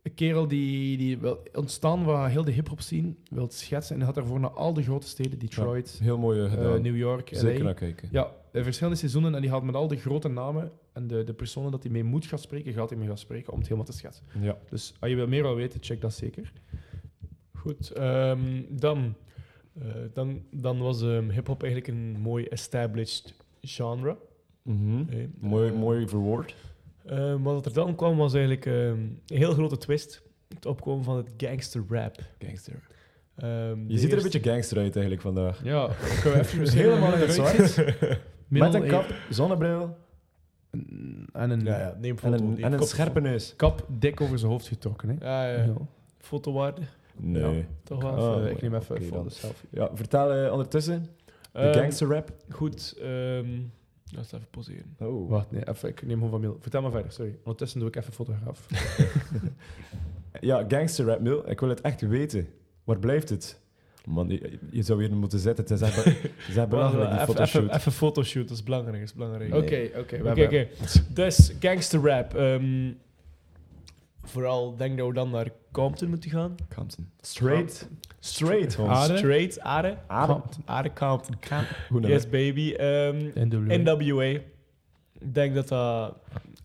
D: een kerel die, die wil ontstaan waar heel de hip-hop scene wil schetsen. En hij gaat daarvoor naar al de grote steden: Detroit,
C: Heel mooi eh,
D: eh,
C: gedaan.
D: New York,
C: Zeker
D: LA.
C: naar kijken.
D: Ja, eh, verschillende seizoenen. En die gaat met al de grote namen en de, de personen dat hij mee moet gaan spreken, gaat hij mee gaan spreken om het helemaal te schetsen.
C: Ja.
D: Dus als je wil meer wil weten, check dat zeker.
B: Goed, ehm, dan, eh, dan, dan was ehm, hip-hop eigenlijk een mooi established genre.
C: Mhm.
B: Eh,
C: Mooi,
B: eh,
C: mooi verwoord.
B: ehm, wat er dan kwam was eigenlijk ehm, een heel grote twist. Het opkomen van het gangster rap.
C: Gangster.
B: Ehm, de
C: Je ziet er een
B: eerste-
C: beetje gangster uit eigenlijk vandaag.
D: Ja, kunnen we even
C: Helemaal in het zwart. Met een
D: kap.
C: kap, zonnebril
D: En een
B: Ja, ja, neem
C: en
B: foto.
C: een,
B: neem
C: en een
B: foto.
C: scherpe neus.
D: kap dik over zijn hoofd getrokken. Hè?
B: Ja, ja,
D: Ja.
B: Fotowaarde,
C: Nee.
B: toch wel.
C: Ah,
D: Even,
C: mooi.
D: Eh, ik neem even
C: Oké,
D: een
C: dan.
D: foto zelf.
C: Ja, vertel eh, ondertussen. De
B: Ehm,
C: gangster rap.
B: Goed, ehm laten we even poseren.
C: Oh.
D: Wacht, nee, even, ik neem gewoon van Miel. Vertel maar verder, sorry. Ondertussen doe ik even fotograaf.
C: Ja, gangster rap, Mil. Ik wil het echt weten. Waar blijft het? Man, je, je zou hier moeten zetten. Het is echt, het is echt belangrijk, die
B: Even-
C: fotoshoot.
B: Even, even fotoshoot, dat is belangrijk. Dat is belangrijk.
D: Oké,
C: Nee.
D: oké. we
B: Oké,
D: hebben-
B: oké. Dus gangster rap. ehm, vooral denk dat we dan naar Compton moeten gaan.
C: Compton. Straight. Straight,
B: Gewoon
C: Hans.
B: Straight, Ah. Aarde.
C: Adem.
B: Aarde Compton.
C: Hoe nou?
B: Yes, baby. Ehm,
D: NWA.
B: NWA. Ik denk dat dat,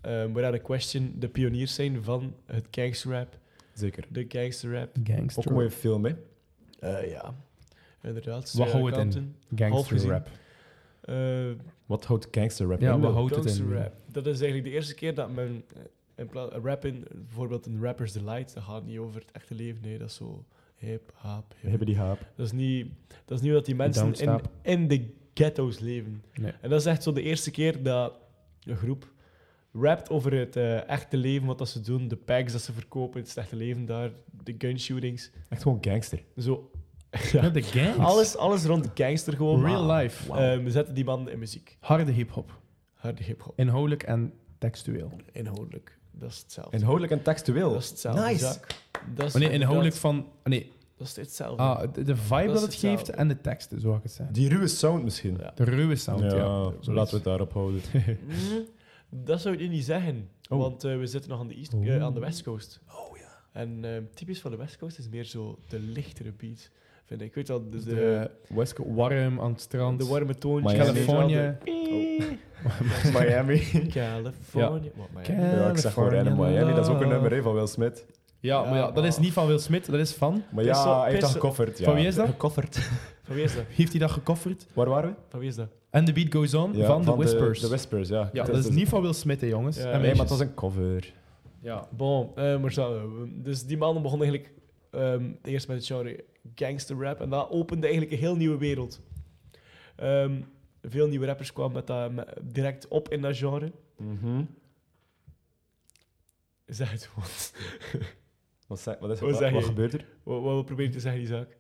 B: ehm without a question, de pioniers zijn van het gangster rap.
C: Zeker.
B: De gangster rap.
C: Ook
D: Gangster.
C: een mooie film, hè?
B: Eh, ja, inderdaad.
D: Wat houdt het in?
B: Compton. half
D: Gangster
B: gezien.
D: rap.
B: Eh,
C: Wat houdt gangster rap
D: Ja, wat
C: in? Mil?
D: houdt het
B: Gangster
D: in?
B: rap. Dat is eigenlijk de eerste keer dat men eh, in plaats rap in, bijvoorbeeld een Rapper's Delight, dat gaat niet over het echte leven. Nee, dat is zo hip, hop,
C: We
B: hip.
C: hebben die haap.
B: Dat is niet dat is niet wat die mensen in,
D: Downstap.
B: in de ghetto's leven.
D: Nee.
B: En dat is echt zo de eerste keer dat een groep rapt over het eh, echte leven, wat dat ze doen, de packs dat ze verkopen, het slechte leven daar, de gunshootings.
C: Echt gewoon gangster.
B: Zo.
D: Ja,
B: Ja.
D: de gangs.
B: Alles, alles rond gangster gewoon.
D: Real life.
B: Eh, we zetten die mannen in muziek.
D: Harde hip-hop.
B: Harde hip-hop.
D: Inhoudelijk en textueel.
B: Inhoudelijk. Dat is hetzelfde.
C: Inhoudelijk en textueel.
B: dat is hetzelfde.
C: Nice.
B: Zak. Dat is
D: Oh nee, inhoudelijk
B: inderdaad-
D: van... ah, Nee,
B: Dat is hetzelfde.
D: ah, de, de vibe
B: Dat
D: dat,
B: is
D: het geeft
B: hetzelfde.
D: en de teksten, zo ik het zeggen.
C: Die ruwe sound misschien.
B: Ja.
D: De ruwe sound, ja.
C: zo laten we het daarop houden.
B: Mm, dat zou ik niet zeggen,
C: Oh.
B: want eh, we zitten nog aan de, east, eh, aan de West Coast. Oh ja. En eh, typisch van de West Coast is meer zo de lichtere beat, vind ik. Ik Weet dat de, de,
D: De West Coast, warm aan het strand.
B: de warme toontjes.
C: Miami.
D: Californië.
B: Californië.
C: Miami.
B: Californië. Wat, Miami.
C: Ja,
D: Eh,
C: ik zeg gewoon Random Miami. Dat is ook een nummer
D: Ja,
C: hè, van Will Smith.
D: maar ja, dat is niet van Will Smith, dat is van...
C: Maar
B: Piss op,
C: ja, hij heeft dat
B: piss op.
C: gekofferd. Ja.
D: Van wie is dat?
C: Gekofferd.
B: Van wie is dat?
D: Heeft hij dat gekofferd?
C: Waar waren we?
B: Van wie is dat?
D: En The Beat Goes On
C: Ja,
D: van, The Whispers.
C: De, Whispers, ja.
D: ja,
C: Het
D: dat is niet van Will Smith, hè, jongens.
B: Ja,
D: en
B: nee,
C: Nee,
D: meisjes.
C: maar het was een cover.
D: Ja.
B: Bon, eh, maar zo, eh, dus die mannen begonnen eigenlijk ehm, eerst met het genre gangster rap en dat opende eigenlijk een heel nieuwe wereld. Ehm, veel nieuwe rappers kwamen met dat, met- direct op in dat genre. Mhm. Zeg het gewoon.
C: Wat, zei- wat, is,
B: Wat
C: wat,
B: zeg
C: wat
B: je?
C: gebeurt er?
B: Wat, wat we proberen te zeggen, Isaac.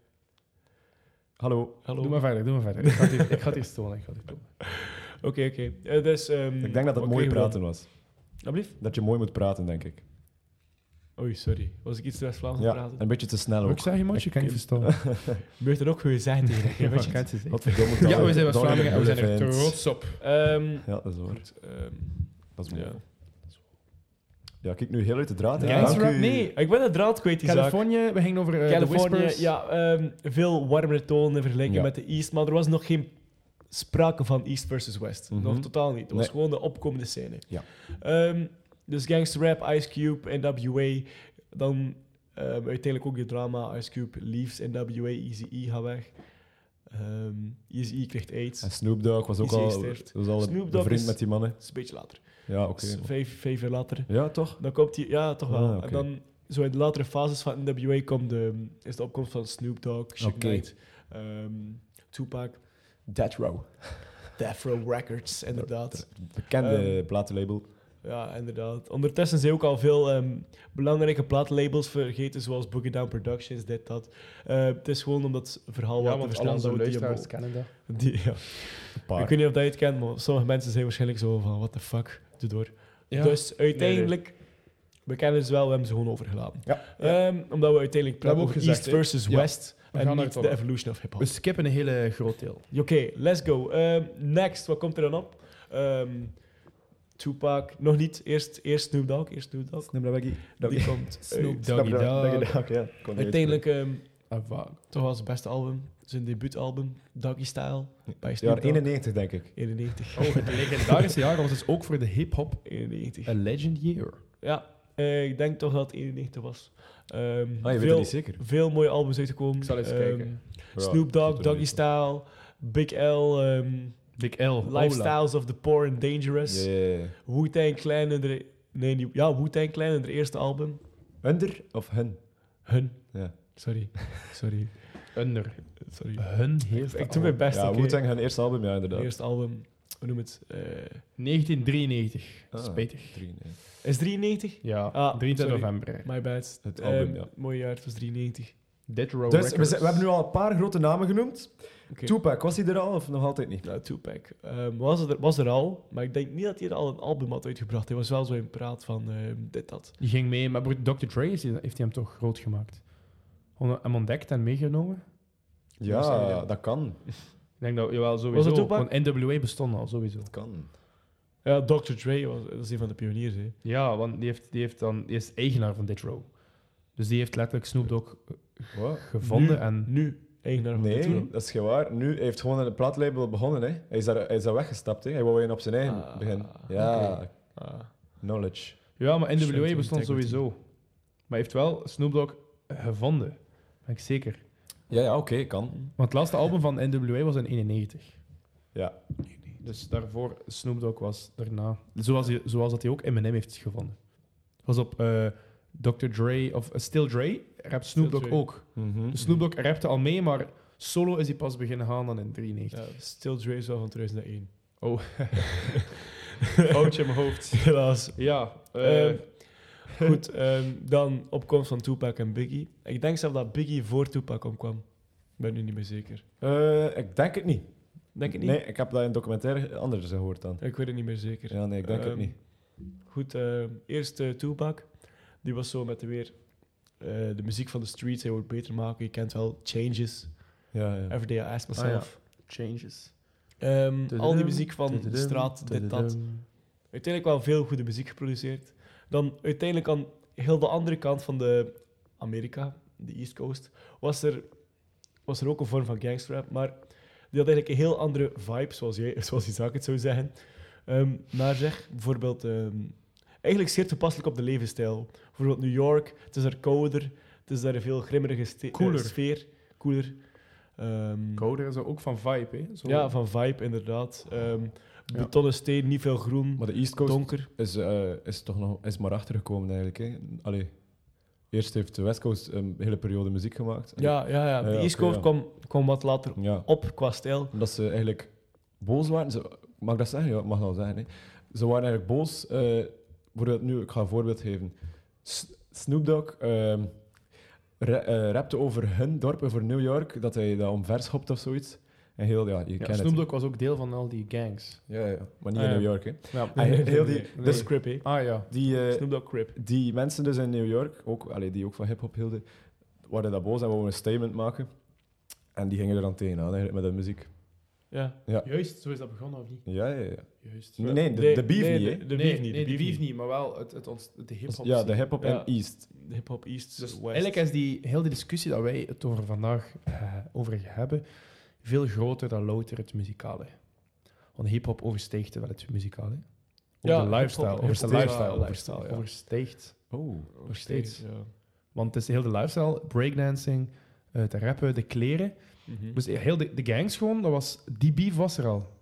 C: Hallo.
B: Hallo.
D: Doe
B: Oké,
D: maar verder, doe maar verder. Ik ga het hier- ik ga het hier stolen, ik ga het hier stolen.
B: oké. Eh, dus, ehm,
C: Ik denk dat het
B: oké,
C: mooi
B: we-
C: praten was.
B: Alsjeblieft.
C: Dat je mooi moet praten, denk ik.
B: Oei, sorry. Was ik iets te West-Vlaams aan het
C: Ja,
B: praten?
C: een beetje te snel
D: Ook
C: ook.
D: zeg je, man, je kan niet verstaan.
B: Gebeurt er ook goed zijn tegen
D: Ja,
B: een
D: maar
B: beetje.
D: ik kan het zeggen.
C: Godverdomme,
D: Ja, we
C: Dolly-
D: zijn wat
C: Dolly
D: Vlamingen en we zijn er
C: Elephant.
D: trots op.
B: Ehm,
C: Ja, dat is waar.
B: goed, ehm,
C: Dat is mooi.
B: ja.
C: Ja, kijk nu heel uit de draad. hè.
D: Gangster
C: Dank
D: rap?
C: u.
D: Nee.
B: Ik ben de draad kwijt, Isaac.
D: Californië, we gingen over eh, The
B: Californië,
D: Whispers.
B: ja, ehm, veel warmere tonen in vergelijking
C: Ja.
B: met de East, maar er was nog geen sprake van East versus West.
C: Mhm.
B: Nog totaal niet. Het was
C: Nee.
B: gewoon de opkomende scène.
C: Ja.
B: Ehm, dus gangster rap, Ice Cube, NWA, dan ehm, uiteindelijk ook je drama, Ice Cube, Leaves, NWA, Eazy-E gaat weg. Ehm Eazy-E krijgt AIDS.
C: En
B: Dat
C: Snoop Dogg was ook
B: Die
C: al,
B: zeesteert.
C: was al
B: Snoop Dogg
C: bevriend
B: is-
C: met die mannen.
B: is een beetje later.
C: Ja,
B: Dat
C: oké.
B: is vijf, vijf jaar later.
C: Ja, toch?
B: Dan komt hij, ja, toch wel.
C: Ah, oké.
B: En dan, zo in de latere fases van NWA, komt de, is de opkomst van Snoop Dogg, Shook
C: Oké.
B: Knight, ehm, Tupac,
C: Death Row.
B: Death Row Records, inderdaad.
C: Bekende platenlabel.
B: Ja, inderdaad. Ondertussen zijn ook al veel ehm, belangrijke plaatlabels vergeten, zoals Boogie Down Productions, dit, dat. Eh, het is gewoon omdat het verhaal wat te verstaan zou die-
D: Canada.
B: die- ja.
C: Een
B: Ik
C: paar.
B: weet niet of dat je het kent, maar sommige mensen zijn waarschijnlijk zo van, what the fuck, doe door.
D: Ja.
B: Dus uiteindelijk, we kennen ze wel, we hebben ze gewoon overgelaten.
C: Ja.
B: Ehm, omdat we uiteindelijk praten
D: hebben we
B: over
D: ook gezegd,
B: East versus
D: hè? Ja.
B: West
D: We
B: en
D: gaan
B: niet
D: ervan
B: de
D: uit.
B: evolution of hip-hop.
D: We skippen een hele groot deel.
B: Oké, let's go. Ehm, next, wat komt er dan op? Ehm, Tupac, nog niet. Eerst, eerst Snoop Dogg, eerst Snoop Dogg.
C: Snoop Doggy.
B: Die komt uit.
D: Snoop Doggy Dogg.
C: ja. Kon
B: Uiteindelijk ehm,
D: Ah, fuck.
B: toch wel zijn beste album, zijn debuutalbum, Doggy Style, bij
C: niet. Ja,
B: Snoop Dogg.
C: 91 denk ik.
B: 91.
D: Oh, het legendarische jaar was dus ook voor de hip-hop
B: 91.
D: a legend year.
B: Ja, eh, ik denk toch dat het 91 was. Ehm,
C: Ah, je weet
B: veel,
C: het niet zeker.
B: veel mooie albums uitgekomen.
D: Ik zal eens
B: Ehm,
D: kijken.
B: Snoop Dogg, Doggy
C: Doggy
B: Style, Big L, ehm,
D: Big L. Ola.
B: Lifestyles of the Poor and Dangerous, Wu-Tang Clan en de... Nee, niet- ja, Wu-Tang Clan en de eerste album.
C: Under of hun?
B: Hun.
C: Ja. Eh,
B: Sorry, sorry,
D: Under.
B: sorry.
D: Hun heeft
B: Ik doe mijn best,
C: Ja,
B: oké.
C: Wu-Tang, hun eerste album, ja,
B: Het
C: inderdaad.
B: eerste album, hoe noem het? eh,
D: 1993.
C: Ah.
D: Spijtig.
C: 93.
B: is 93?
D: Ja,
B: Ah,
D: 23
B: sorry.
D: november.
B: My bad.
C: Het
B: Ehm,
C: album, ja.
B: Mooi jaar, het was 93.
D: Dead Row
C: Dus we,
D: Records.
C: zijn- we hebben nu al een paar grote namen genoemd.
B: Oké.
C: Tupac, was hij er al of nog altijd niet?
B: Nou, Tupac ehm, was, er, was er al, maar ik denk niet dat hij er al een album had uitgebracht. Hij was wel zo in praat van ehm, dit, dat.
D: Die ging mee, maar broer, Dr. Dre is- heeft hij hem toch groot gemaakt. Gewoon Hem ontdekt en meegenomen.
C: Ja, dat kan.
D: Ik denk dat, jawel, sowieso.
B: dat Tupac?
D: Want NWA bestond al, sowieso.
C: Dat kan.
B: Ja, Dr. Dre was, dat is een van de pioniers. Hè.
D: Ja, want die, heeft, die, heeft dan, die is eigenaar van Dead Row. Dus die heeft letterlijk Snoop Dogg
C: Wat?
D: gevonden
B: Nu-
D: en...
B: Nu eigenaar van de
C: Hm. Nee, dat is geen waar. Nu hij heeft gewoon een plaatlabel begonnen. Hè. Hij, is daar, hij is daar weggestapt. Hè. Hij wou weer op zijn eigen
B: Ah,
C: beginnen. Ja,
B: oké. Ah,
C: knowledge.
D: Ja, maar
B: Strength
D: NWA
B: and
D: bestond
B: integrity.
D: sowieso. Maar heeft wel Snoop Dogg gevonden. Ben ik zeker.
C: Ja, ja oké, kan.
D: Want het laatste album van NWA was in 91.
C: Ja.
D: Dus daarvoor, Snoop Dogg was daarna... Zoals, hij, zoals dat hij ook Eminem heeft gevonden. Was op eh, Dr. Dre, of eh, Still Dre, rapt Snoop
B: Still
D: Dogg
B: Dre.
D: ook. Dus Snoop Dogg rapte al mee, maar solo is hij pas beginnen gaan dan in 93.
B: ja, Still Dre is wel van 2001.
D: Oh.
C: Oh,
D: Foutje in mijn hoofd.
B: Helaas.
D: Ja. eh,
B: Ehm, goed, ehm, dan opkomst van Tupac en Biggie. Ik denk zelf dat Biggie voor Tupac omkwam. Ik ben nu niet meer zeker.
C: Eh, ik denk het niet.
B: Denk het niet?
C: Nee, ik heb dat in een documentaire anders gehoord dan.
B: Ik weet het niet meer zeker.
C: Ja, nee, ik denk het
B: Ehm,
C: niet.
B: Goed, eh, eerst eh, Tupac. Die was zo met de weer eh, de muziek van de streets. Hij wil het beter maken. Je kent wel Changes.
C: Ja, Ah, ja.
B: Everyday I Ask Myself.
A: Changes.
B: Ehm, al die
C: Tududum,
B: muziek van de straat, dit, dat. Uiteindelijk wel veel goede muziek geproduceerd. Dan uiteindelijk aan heel de andere kant van de Amerika, de East Coast, was er, was er ook een vorm van gangsterrap. Maar die had eigenlijk een heel andere vibe, zoals, jij, zoals Isaac het zou zeggen. Ehm naar zeg, bijvoorbeeld... ehm, eigenlijk zeer toepasselijk op de levensstijl. Bijvoorbeeld New York, het is daar kouder, het is daar een veel grimmerige ste- eh,
D: Koeler.
B: sfeer. Koeler. Ehm,
D: Kouder is ook van vibe, hè? Zo.
B: ja, van vibe inderdaad. Ehm, betonnen steen, niet veel groen,
C: Maar de East Coast
B: donker.
C: is, eh, is toch nog is maar achtergekomen eigenlijk. Hè? Allee, eerst heeft de West Coast een hele periode muziek gemaakt. En-
B: Ja, ja, ja.
C: Ja,
B: De
C: ja,
B: East
C: oké,
B: Coast
C: ja.
B: kwam, kwam wat later
C: ja.
B: op qua stijl.
C: Omdat ze eigenlijk boos waren. Ze, mag ik dat zeggen? Ja, ik mag dat wel zeggen. Hè. Ze waren eigenlijk boos. eh, bijvoorbeeld nu, ik ga een voorbeeld geven. S- Snoop Dogg ehm, ra- eh, rapte over hun dorpen voor New York, dat hij dat omver schopt of zoiets. En heel, ja, je
D: Ja,
C: kent
D: Snoop
C: het.
D: Dogg was ook deel van al die gangs.
C: Ja, ja, maar niet
B: Ah,
C: in
B: ja.
C: New York. Hè.
D: Ja.
C: Hij- heel die,
B: Dat
C: Dus
B: is Crip, hè.
D: Ah ja.
C: die, eh,
B: Snoop Dogg Crip.
C: die mensen dus in New York, ook, allee, die ook van hip-hop hielden, waren dat boos en wouden een statement maken. En die gingen er dan tegenaan eigenlijk, met de muziek.
B: Ja.
D: Juist, zo is dat begonnen, of niet?
C: Ja, ja, ja.
D: Juist.
C: Nee, de, de beef
B: nee,
C: niet, hè?
B: De, de
D: nee,
B: beef niet.
D: nee,
B: de beef niet.
D: maar wel het, het, ons- de hip-hop.
C: Ja, de hip-hop
B: Ja.
C: en East.
B: De Hip-hop East,
D: Dus
B: West.
D: eigenlijk is die hele discussie dat wij het over vandaag eh, over hebben, veel groter dan louter het muzikale. Want hip-hop overstijgt wel het muzikale. Ook
B: Ja,
D: de lifestyle.
B: hip-hop
D: Over de
B: overstijgt-
D: lifestyle.
B: ja,
D: Overstijgt.
B: lifestyle, ja.
D: overstijgt.
C: Oh.
D: Nog steeds.
B: Ja.
D: Want het is de hele lifestyle, breakdancing, het rappen, de kleren.
B: Mhm.
D: Dus heel de, de gangs gewoon, dat was, die beef was er al.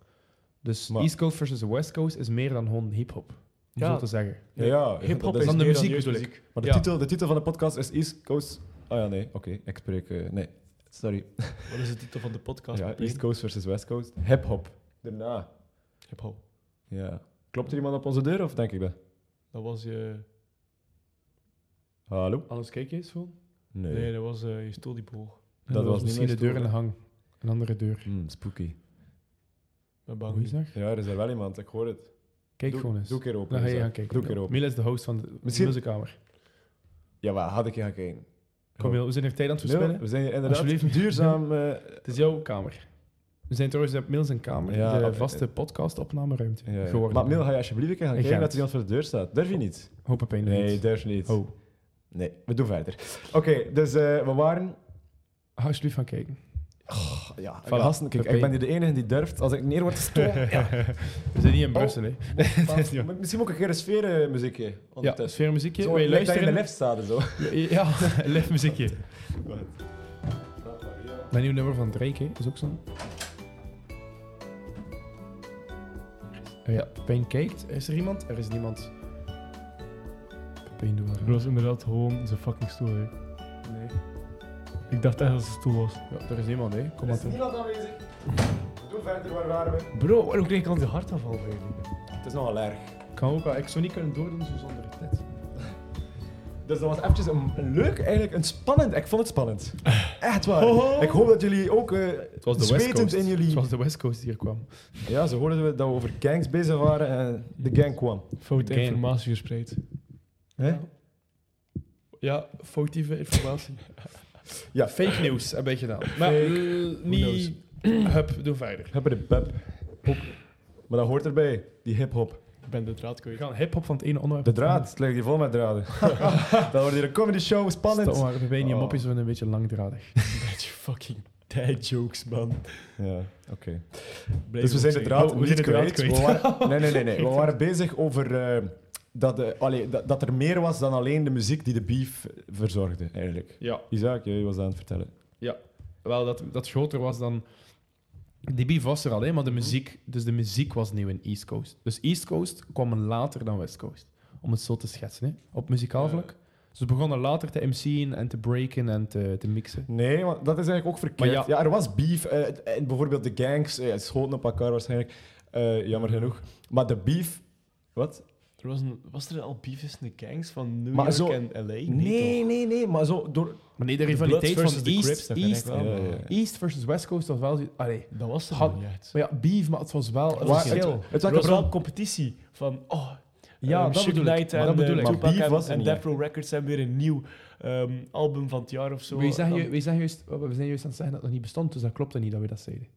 D: Dus
C: Maar-
D: East Coast versus West Coast is meer dan gewoon hip-hop. Om
B: Ja.
D: zo te zeggen.
C: Ja, ja,
B: Hip-hop
C: dat is-
B: is
D: dan de
B: meer
D: muziek
B: jeugdmuziek.
D: bedoel
C: maar de,
D: ja.
C: titel, de titel van de podcast is East Coast... Ah ja, nee, oké, ik spreek... eh, nee, sorry.
B: Wat is de titel van de podcast?
C: Ja,
B: Meteen.
C: East Coast versus West Coast. Hip-hop. Daarna.
B: Hip-hop.
C: Ja. Klopt er iemand op onze deur of denk ik dat?
B: Dat was eh, je...
C: Hallo?
D: Alles kijk eens gewoon.
C: Nee.
B: Nee, dat was eh, je stoel die boog.
C: Dat was niet
D: misschien de
C: mijn
D: deur in de
C: stoel,
D: hang. Een andere deur.
C: Hmm, spooky.
B: Met
D: Hoe is
B: bang.
D: dat?
C: Ja, er is er wel iemand, ik hoor het.
D: Kijk
C: doe,
D: gewoon eens.
C: Doe een keer open.
D: Dan ga je
C: Isaac.
D: gaan kijken.
C: Doe een keer open.
D: Mila is de host van de
C: Misschien-
D: muziekkamer.
C: Ja, maar had ik je gaan kijken.
D: Kom, Mila, we zijn er tijd aan het
C: Nee,
D: verspillen.
C: we zijn hier inderdaad
D: Alsjeblieft.
C: duurzaam... eh,
D: Het is jouw kamer. We zijn trouwens op Mil zijn kamer,
C: Ja,
D: de
C: eh,
D: vaste podcastopnameruimte
C: ja, ja.
D: geworden.
C: Maar Mil, ga je alsjeblieft een keer gaan
D: Ik ga
C: kijken dat
D: het. Oh.
C: er iemand voor de deur staat? Durf je niet?
D: Hoop pijn
C: Nee, durf niet.
D: Oh,
C: Nee, we doen verder. Oké, dus eh, we waren...
D: ga alsjeblieft gaan kijken.
C: Ja,
D: Voilà.
C: gasten, kijk, ik
D: Pepijn.
C: ben hier de enige die durft. Als ik neer word gestoken... ja,
D: We zijn niet in
C: Oh.
D: Brussel, hè.
C: maar-
D: is niet waar.
C: maar misschien ook een keer een sfeermuziekje
D: Ja,
C: ondertussen.
D: sfeermuziekje.
C: Zo,
D: Wij
C: lijkt dat je in de
D: luisteren...
C: lift staat en zo.
D: Ja, live muziekje. Mijn nieuw nummer van Drake, hè, is ook zo'n... Eh, Ja, Pepijn kijkt. Is er iemand? Er is niemand. Pepijn doet wel
B: Dat was inderdaad gewoon zijn fucking stoel, hè.
D: raar. Nee.
B: Ik dacht echt dat het zijn stoel was.
D: Ja, er is niemand, hè. Kom maar
C: is
D: toe.
C: niemand aanwezig. Doe verder, waar waren we?
B: Bro, waarom kreeg ik al die hartaanval eigenlijk?
C: Het is nogal erg.
D: Kan ook wel. Ik zou niet kunnen doordoen zo zonder het net.
C: Dus dat was eventjes een, een leuk, eigenlijk een spannend. Ik vond het spannend. Echt waar. Ik hoop dat jullie ook eh het
D: was de West
C: zwetend
D: Coast.
C: in jullie...
D: Zoals de West Coast hier kwam.
C: Ja, ze hoorden we dat we over gangs bezig waren en de gang kwam.
B: Foute
D: Game.
B: informatie verspreid.
C: Hè?
D: Ja, foutieve informatie.
C: Ja.
D: Fake nieuws heb ik gedaan. Maar
B: Fake,
D: eh, niet... Hup, doe verder.
C: Hebben de pep. Hop. Maar dat hoort erbij, die hip-hop.
B: Ik ben de draad
D: We
B: kwijt.
D: gaan hip-hop van het ene onderwerp.
C: De draad, het ligt hier vol met draden. dat wordt hier een comedy show,
D: Spannend.
C: spannend.
D: maar we zijn die
C: Oh.
D: mopjes zijn een beetje langdradig.
B: Beetje fucking dad jokes, man.
C: Ja, oké. Dus we zijn de draad
B: Oh, we
C: niet
B: zijn de draad
C: kwijt. We waren, nee, nee, nee, nee. We waren bezig over eh, dat, eh, allee, dat, dat er meer was dan alleen de muziek die de beef verzorgde, eigenlijk.
D: Ja.
C: Isaac, jij was aan het vertellen.
D: Wel, dat, dat groter was dan... Die beef was er al, hè, maar de muziek, dus de muziek was nieuw in East Coast. Dus East Coast kwam later dan West Coast, om het zo te schetsen, hè, op muzikaal vlak. Ze begonnen later te MC'en en te breaken en te, te mixen.
C: Nee, want dat is eigenlijk ook verkeerd.
D: Maar
C: Ja.
D: ja.
C: er was beef. eh, het- en bijvoorbeeld de gangs eh, schoten op elkaar waarschijnlijk. Eh, jammer genoeg. Maar de beef... Wat?
B: Er was, een, was er al beef tussen de gangs van New
C: Maar
B: York
C: zo-
B: en L.A.?
C: Nee, nee, nee. Maar zo door...
D: Maar nee, de
B: Bloods
D: rivaliteit
B: versus
D: van
B: de
D: East,
B: Crips, dat vind
D: East,
B: ik wel.
C: Ja, ja, ja.
D: East versus West Coast was wel... zo- Allee.
B: Dat was er
D: Had-
B: nog niet echt.
D: Maar ja, beef, maar het was wel... Het
C: Waar-
D: was
C: het,
D: heel...
C: het, was
B: Er was wel competitie van, oh, Ja,
D: Eh,
B: dat
D: Suge
B: bedoel ik.
D: Knight en,
B: dat
D: eh,
B: bedoel ik.
C: maar
B: Tupac
C: Beef
B: en,
C: was er
B: en
C: niet,
B: Death
C: hè?
B: Row Records hebben weer een nieuw ehm, album van het jaar of zo. Ehm,
D: We zijn,
B: Dan-
D: ju- we, zijn juist, we zijn juist aan het zeggen dat het nog niet bestond, dus dat klopte niet dat we dat zeiden.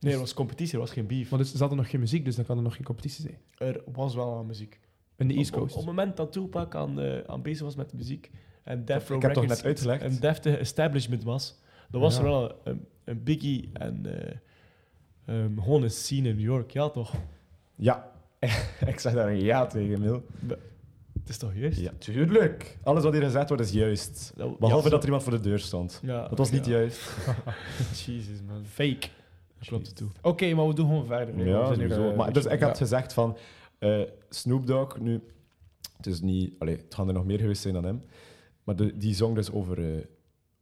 B: Nee, er was competitie, er was geen beef.
D: Maar dus, ze hadden nog geen muziek, dus dan kan er nog geen competitie zijn.
B: Er was wel aan muziek.
D: In de East
B: Op- op-
D: Coast.
B: Op, het moment dat Tupac aan, eh, aan bezig was met muziek en Death Row
C: Ik heb toch
B: Records
C: net uitgelegd.
B: een deftige establishment was, dan was
D: Ja.
B: er wel een, een biggie en eh, ehm, gewoon een scene in New York. Ja, toch?
C: Ja, ik zeg daar een ja tegen, Mil.
B: Het is toch juist?
C: Ja, tuurlijk. Alles wat hier gezegd wordt is juist.
B: Dat-
C: Behalve
B: ja,
C: dat er iemand voor de deur stond.
B: Ja,
C: Dat was niet
B: ja.
C: juist.
B: Jezus, man.
D: Fake.
B: Dat klopt het toe.
D: Oké, maar we doen gewoon verder. hè.
C: Ja,
D: We zijn er,
C: sowieso.
D: eh,
C: Maar dus ik had
D: ja.
C: gezegd van eh, Snoop Dogg nu. Het is niet. Allee, het gaan er nog meer geweest zijn dan hem. Maar de- die zong dus over, eh,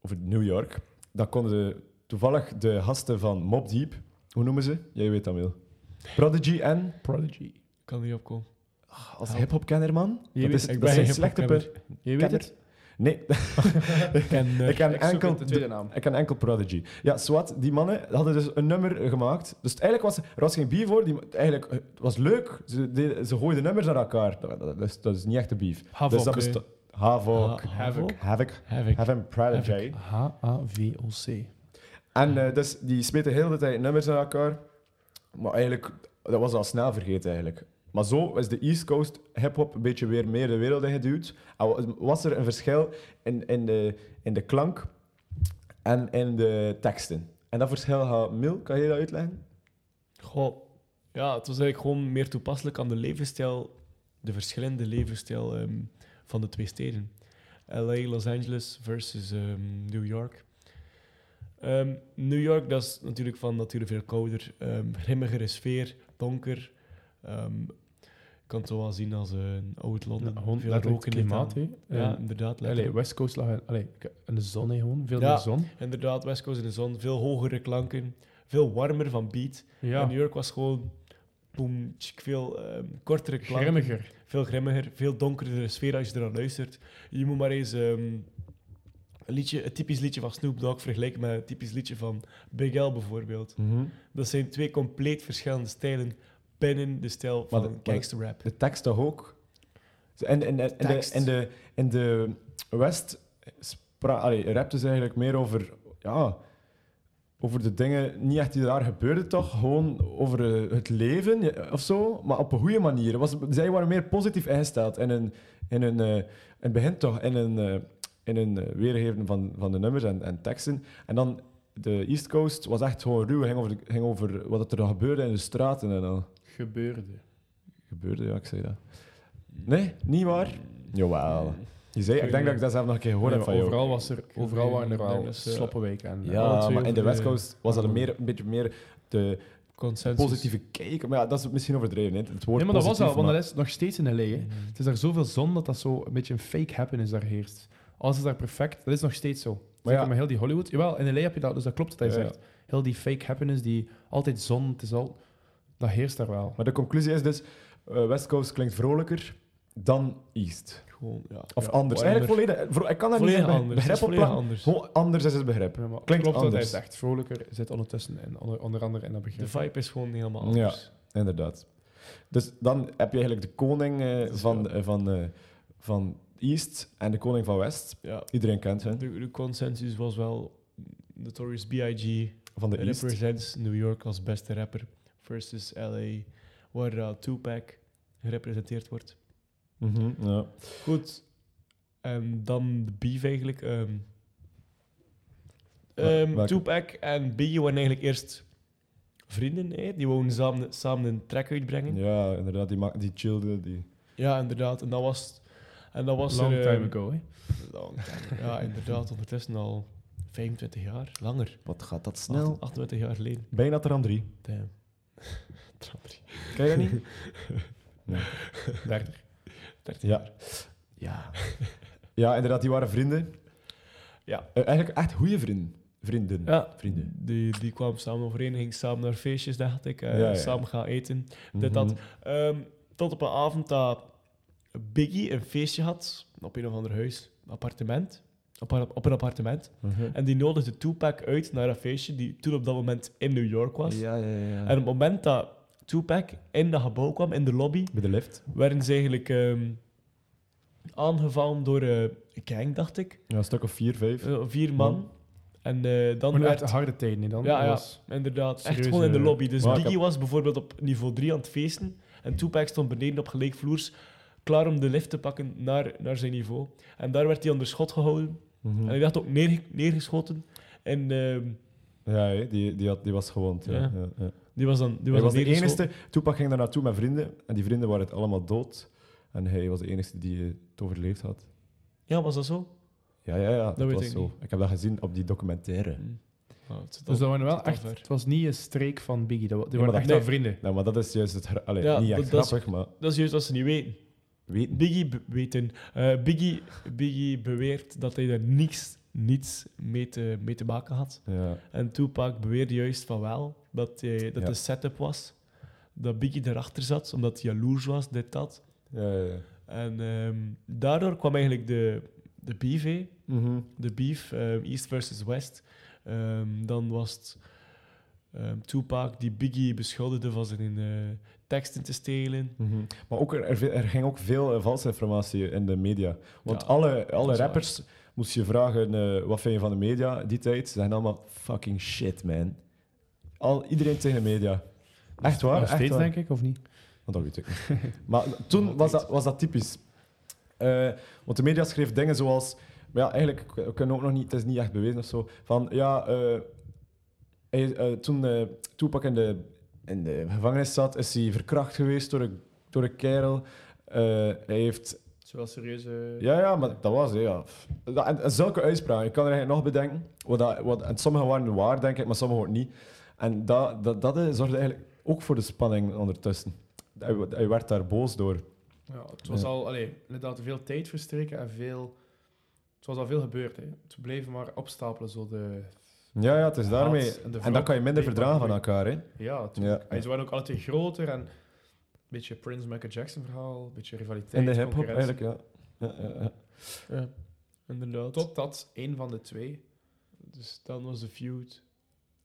C: over New York. Dan konden de- toevallig de gasten van Mob Deep. Hoe noemen ze? Jij weet dat wel. Prodigy en.
D: Prodigy.
B: Ik kan er niet op komen.
C: Als hip-hop-kenner, man.
D: Je
C: dat
D: weet-
C: is,
B: ik
C: dat
B: ben
C: zijn
B: geen
C: slechte
B: hip-hopkenner.
C: punt.
D: Je weet
C: Kenner?
D: het?
C: Nee,
B: Ik ken, eh,
C: ik ken
D: Ik zoek
C: enkel
D: het, de tweede naam.
C: Ik ken enkel Prodigy. Ja, Swat, die mannen hadden dus een nummer gemaakt. Dus eigenlijk was er was geen beef voor. Die, eigenlijk, eh, het was leuk. Ze, deden- ze gooiden nummers naar elkaar. Dat, dat- dat is, dat is niet echt een beef.
B: Havok,
C: dus dat
B: hè?
C: besta- Havok.
B: Ha- Havok?
C: Havoc.
B: Heb ik.
C: Havok. Prodigy.
D: H-A-V-O-C.
C: En eh, dus die smeten heel de tijd nummers naar elkaar. Maar eigenlijk, dat was al snel vergeten eigenlijk. Maar zo is de East Coast hip-hop een beetje weer meer de wereld ingeduwd. En wa- was er een verschil in, in, de, in de klank en in de teksten. En dat verschil gaat Mil, kan je dat uitleggen?
B: Goh, ja, het was eigenlijk gewoon meer toepasselijk aan de levensstijl, de verschillende levensstijl ehm, van de twee steden. LA, Los Angeles versus ehm, New York. Ehm, New York, dat is natuurlijk van nature veel kouder, ehm grimmigere sfeer, donker. Ehm, je kan het zo wel zien als eh, een oud Londen. veel rook in de
D: klimaat,
B: tent.
D: hè.
B: Ja,
D: Ja.
B: inderdaad.
D: Allee,
B: letterlijk.
D: West Coast lag... Allee, in de zon, hè, gewoon. Veel
B: Ja.
D: meer zon.
B: Inderdaad, West Coast in de zon, veel hogere klanken, veel warmer van beat. En New York was gewoon boem, tjik, veel ehm, kortere klanken.
D: Grimmiger.
B: Veel grimmiger, veel donkerdere sfeer als je eraan luistert. Je moet maar eens ehm, een, liedje, een typisch liedje van Snoop Dogg vergelijken met een typisch liedje van Big L bijvoorbeeld. Dat zijn twee compleet verschillende stijlen binnen de stijl
C: Maar
B: van
C: de- maar de-
B: gangster rap.
C: De tekst toch ook? En, en, en, en de,
B: Tekst.
C: in, de, in de West spra- allee, rapte ze eigenlijk meer over, ja, over de dingen, niet echt die daar gebeurden toch, gewoon over eh, het leven eh, of zo, maar op een goede manier. Was, zij waren meer positief ingesteld in een, in een, eh, in het begin toch, in een, eh, in een eh, weergeven van, van de nummers en, en teksten. En dan de East Coast was echt gewoon ruw, ging over, de- ging over wat er gebeurde in de straten en al
D: Gebeurde.
C: gebeurde, ja, ik zei dat. Nee, niet waar? Jawel. Je zei, ik denk dat ik dat zelf nog een keer gehoord heb van jou. eh,
D: overal was er... Overal waren er
B: Ik
D: wel
B: denk dat ze-
D: sloppenweken. En,
B: alle
C: Ja,
B: twee
C: maar in de
B: over
C: West
B: de-
C: Coast was dat een, meer, een beetje meer de
B: Consensus.
C: positieve kijk. Maar ja, dat is misschien overdreven, hè. het woord
D: Nee, maar dat was
C: positief,
D: al, want
C: maar-
D: dat is nog steeds in LA. hè. Het is daar zoveel zon dat dat zo een beetje een fake happiness daar heerst. Alles is daar perfect. Dat is nog steeds zo. Maar
C: Maar ja.
D: Zeker met heel die Hollywood. Jawel, in LA heb je dat, dus dat klopt wat hij
C: Ja, ja.
D: zegt. Heel die fake happiness, die altijd zon, het is al... Dat heerst daar wel.
C: Maar de conclusie is dus, eh, West Coast klinkt vrolijker dan East.
B: Gewoon, ja.
C: Of
B: Ja,
C: anders. Eigenlijk volledig... vro- Ik kan daar
B: Volledig
C: niet een
B: anders. Het
C: begrip
B: is
C: op
B: volledig
C: plakken.
B: anders.
C: Gewoon anders is het begrip.
D: Ja, maar klopt
C: Klinkt
D: wat hij
C: anders.
D: zegt. Vrolijker zit ondertussen in, onder, onder andere in dat
B: De
D: begrip.
B: vibe is gewoon helemaal anders.
C: Inderdaad. Dus dan heb je eigenlijk de koning eh, van, eh, van, eh, van East en de koning van West.
B: Ja.
C: Iedereen kent hen.
B: De, de consensus was wel Notorious B.I.G.,
C: Van de East.
B: represents New York als beste rapper versus LA, waar eh, Tupac gerepresenteerd wordt.
C: Mhm, ja.
B: Goed, en dan de beef eigenlijk. ehm. Ehm,
C: welke?
B: Tupac en Biggie waren eigenlijk eerst vrienden, hè? die wouden samen, samen een track uitbrengen. Ja,
C: ja, inderdaad. Die, ma- die chillde. Die...
B: inderdaad, en dat was. En dat was
D: Long
B: er,
D: time
B: ehm,
D: ago, hè.
B: long time ago. Ja, inderdaad, ondertussen al 25 jaar, langer.
C: Wat gaat dat
B: 8- 28 jaar geleden.
C: Bijna ter aan drie.
B: Damn. Trapperie.
C: Ken je dat niet?
D: Dertig.
B: 13
C: ja. Ja. ja, inderdaad. Die waren vrienden.
B: Ja.
C: Eh, eigenlijk echt goede vrienden. Vrienden.
B: Ja,
C: Vrienden.
B: Die, die kwamen samen overeen, gingen samen naar feestjes, dacht ik. eh,
C: Ja, ja, ja.
B: Samen gaan eten, dit,
C: Mhm.
B: dat. Ehm, tot op een avond dat Biggie een feestje had op een of ander huis, appartement. Op, een- op een appartement.
C: Mhm.
B: En die nodigde Tupac uit naar dat feestje, die toen op dat moment in New York was.
C: Ja, ja, ja.
B: En op het moment dat Tupac in dat gebouw kwam, in de lobby,
C: Bij de lift.
B: werden ze eigenlijk ehm, aangevallen door eh, een gang, dacht ik.
C: Ja, een stuk of vier, vijf.
B: Eh, vier man. En eh, dan
D: Maar
B: werd...
D: echt harde tijden, niet dan?
B: Ja,
D: Dat
B: ja,
D: was-
B: inderdaad. Echt
D: serieuze-
B: gewoon in de lobby. Dus
C: Maar ik
B: Biggie was bijvoorbeeld op niveau 3 aan het feesten. En Tupac stond beneden op gelijkvloers, klaar om de lift te pakken naar, naar zijn niveau. En daar werd hij onder schot gehouden.
C: Mhm.
B: En hij werd ook neerge- neergeschoten. En ehm,
C: Ja, hè, die, die, had, die was gewond. Ja.
B: Ja.
C: Ja. Ja,
B: die was dan die was
C: Hij was
B: dan
C: de
B: neergeschoten.
C: enige. Toepak ging daar naartoe met vrienden. En die vrienden waren het allemaal dood. En hij was de enige die eh, het overleefd had.
B: Ja, was dat zo?
C: Ja, ja, ja. Dat,
B: weet
C: was
B: ik
C: zo.
B: niet.
C: Ik heb dat gezien op die documentaire.
B: Nou, het zit
D: Dus
B: al-
D: dat waren wel
B: het zit al
D: echt...
B: ver.
D: Het was niet een streek van Biggie. Dat, wa- die
C: Nee,
D: waren
C: maar
D: echt
B: dat-
D: wel vrienden.
C: Nou, maar dat is juist het... gra- Allee,
B: Ja,
C: niet echt
B: dat- dat is-
C: grappig, maar...
B: Dat is juist wat ze niet weten.
C: Weten.
B: Biggie be- weten. Eh, Biggie, Biggie beweert dat hij daar niks, niets mee te, mee te maken had.
C: Ja.
B: En Tupac beweerde juist van wel dat, hij, dat
C: Ja.
B: de setup was. Dat Biggie erachter zat, omdat hij jaloers was, dit, dat.
C: Ja, ja, ja.
B: En ehm, daardoor kwam eigenlijk de, de beef, hè.
C: Mhm.
B: de beef, ehm, East versus West. Ehm, dan was het ehm, Tupac die Biggie beschuldigde van zijn eh, teksten te stelen.
C: Mhm. Maar ook, er- er, er ging ook veel eh, valse informatie in de media. Want
B: Ja,
C: alle,
B: dat
C: alle
B: is waar.
C: rappers moest je vragen eh, wat vind je van de media die tijd. Ze zijn allemaal fucking shit, man. Al, iedereen tegen de media. Echt waar?
D: Nog
C: echt
D: steeds,
C: waar.
D: denk ik, of niet?
C: Want dat weet ik niet. maar toen was dat, was dat typisch. Eh, want de media schreef dingen zoals... maar Ja, eigenlijk k- we kunnen ook nog niet... Het is niet echt bewezen of zo. Van, ja... eh, hij, eh, toen eh Tupac in de, in de gevangenis zat, is hij verkracht geweest door een, door een kerel. Eh, hij heeft...
D: Zowel serieuze...
C: Ja, ja, maar dat was... hè, Ja. Pff. Dat- en, en zulke uitspraken. Ik kan er eigenlijk nog bedenken. Wat dat, wat, en sommige waren waar, denk ik, maar sommige ook niet. En dat, dat, dat eh, zorgde eigenlijk ook voor de spanning ondertussen. Hij, hij werd daar boos door.
D: Ja, het was
C: Ja.
D: al, allee, inderdaad, veel tijd verstreken en veel... Het was al veel gebeurd, hè. Het bleef maar opstapelen, zo de...
C: Ja, ja, het is daarmee.
D: Haat Dus en de
C: En dan kan je minder
D: wrok-
C: verdragen van elkaar, hè?
D: Ja, toen,
C: Ja.
D: en ze waren ook alle twee groter en... Een beetje Prince, Michael Jackson verhaal, een beetje rivaliteit,
C: In de hip-hop
D: concurrentie.
C: eigenlijk, ja. Ja, ja, ja.
B: Ja, inderdaad.
D: Totdat één van de twee,
B: Dus dan was de feud.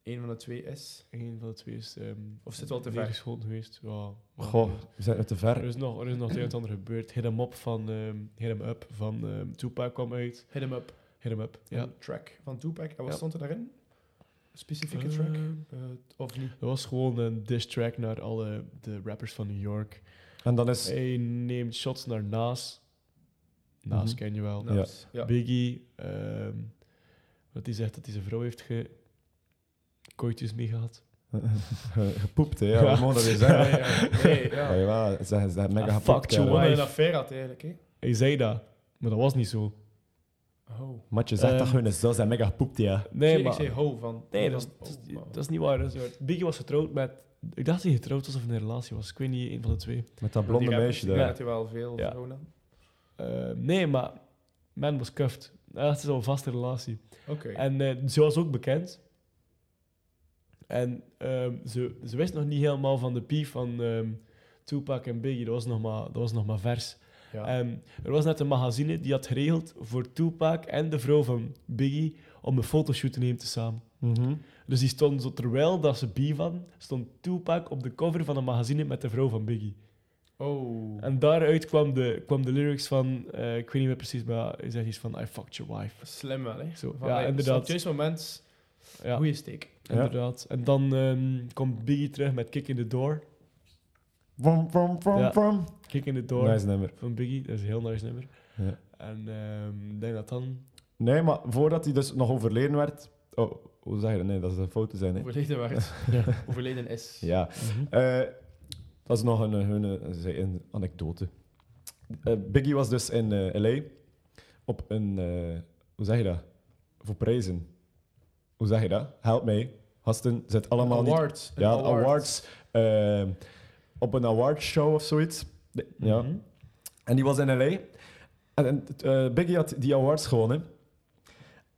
D: één van de twee is...
B: Een van de twee is ehm
D: Of zit wel te ver?
B: neergeschoten geweest. Ja.
C: Goh, we zijn er te
B: Er
C: ver.
B: is nog, er is nog het een en ander gebeurd. Hit 'em Up van, ehm Hit 'em Up van ehm, Tupac kwam uit.
D: Hit 'em up,
B: Hit 'em Up, ja.
D: een track van Tupac. En wat
B: Ja.
D: stond er daarin? Een specifieke track?
B: Ehm,
D: Eh, of niet?
B: dat was gewoon een diss track naar alle de rappers van New York.
C: En dan is.
B: Hij neemt shots naar Nas. Nas
C: Mhm.
B: ken je wel.
D: Nice.
C: Ja.
D: Nou, dus, Ja.
B: Biggie. ehm wat hij zegt dat hij zijn vrouw heeft ge... kooitjes mee gehad.
C: gepoept, hè? Ja,
B: Ja.
C: we mogen dat
D: Ja,
C: weer zeggen.
D: ja, ja. Nee, ja.
C: Ja, ja, ze zeggen ze dat mega
B: Ah,
C: gepoept,
B: fuck you,
C: ja.
D: Gewoon dat je
B: wife.
D: een affaire had eigenlijk, hè?
B: Hij zei dat, maar dat was niet zo.
D: Ho.
C: Matje zegt dat
B: Ehm.
C: gewoon eens, dat zijn mega gepoept, ja.
D: Nee,
B: Nee,
D: ik
B: maar...
D: zei ho van. van-
B: Nee, dat is, dat,
D: oh,
B: is,
D: maar-
B: dat is niet waar. Dat is niet waar. Biggie was getrouwd met. Ik dacht dat hij getrouwd was of in een relatie was. Ik weet niet, een van de twee.
C: Met dat
D: die
C: blonde
D: rappers,
C: meisje
D: die
C: daar.
D: had hij wel veel
B: Ja.
D: vrouwen aan.
B: Eh, nee, maar. Man was cuffed. Dat is al een vaste relatie.
D: Oké.
B: En eh, ze was ook bekend. En ehm, ze, ze wist nog niet helemaal van de pief van ehm, Tupac en Biggie. Dat was nog maar, dat was nog maar vers.
D: Ja.
B: En er was net een magazine die had geregeld voor Tupac en de vrouw van Biggie om een fotoshoot te nemen tezamen.
C: Mhm.
B: Dus die stond zo, terwijl dat ze beef hadden, stond Tupac op de cover van een magazine met de vrouw van Biggie.
D: Oh.
B: En daaruit kwam de, kwam de lyrics van, eh, ik weet niet meer precies, maar hij zegt iets van I fucked your wife.
D: Slim wel, hè?
B: Zo,
D: Van,
B: ja,
D: hey,
B: inderdaad.
D: Op het juiste moment,
B: Ja,
D: goede steek.
B: inderdaad. En dan ehm, komt Biggie terug met Kick in the Door.
C: Pom, pom,
B: Ja.
C: pom, pom.
B: Kick in the Door
C: Nice nummer.
B: van Biggie, dat is een heel nice nummer.
C: Ja.
B: En ehm, ik denk dat dan...
C: Nee, maar voordat hij dus nog overleden werd. Oh, hoe zeg je dat? Nee, dat is een foto zijn, hè?
D: Overleden werd.
B: Ja.
D: Overleden is.
C: Ja.
B: Mhm.
C: Eh, dat is nog een, eh, een, een, een anekdote. Eh, Biggie was dus in eh, LA op een. eh, hoe zeg je dat? Voor prijzen. Hoe zeg je dat? Help mij. Gasten, zit allemaal niet.
D: awards.
C: Ja,
D: Een award.
C: awards. eh, op een awardshow of zoiets. De- Ja.
B: Mhm.
C: En die was in LA. En, en, eh, Biggie had die awards gewonnen.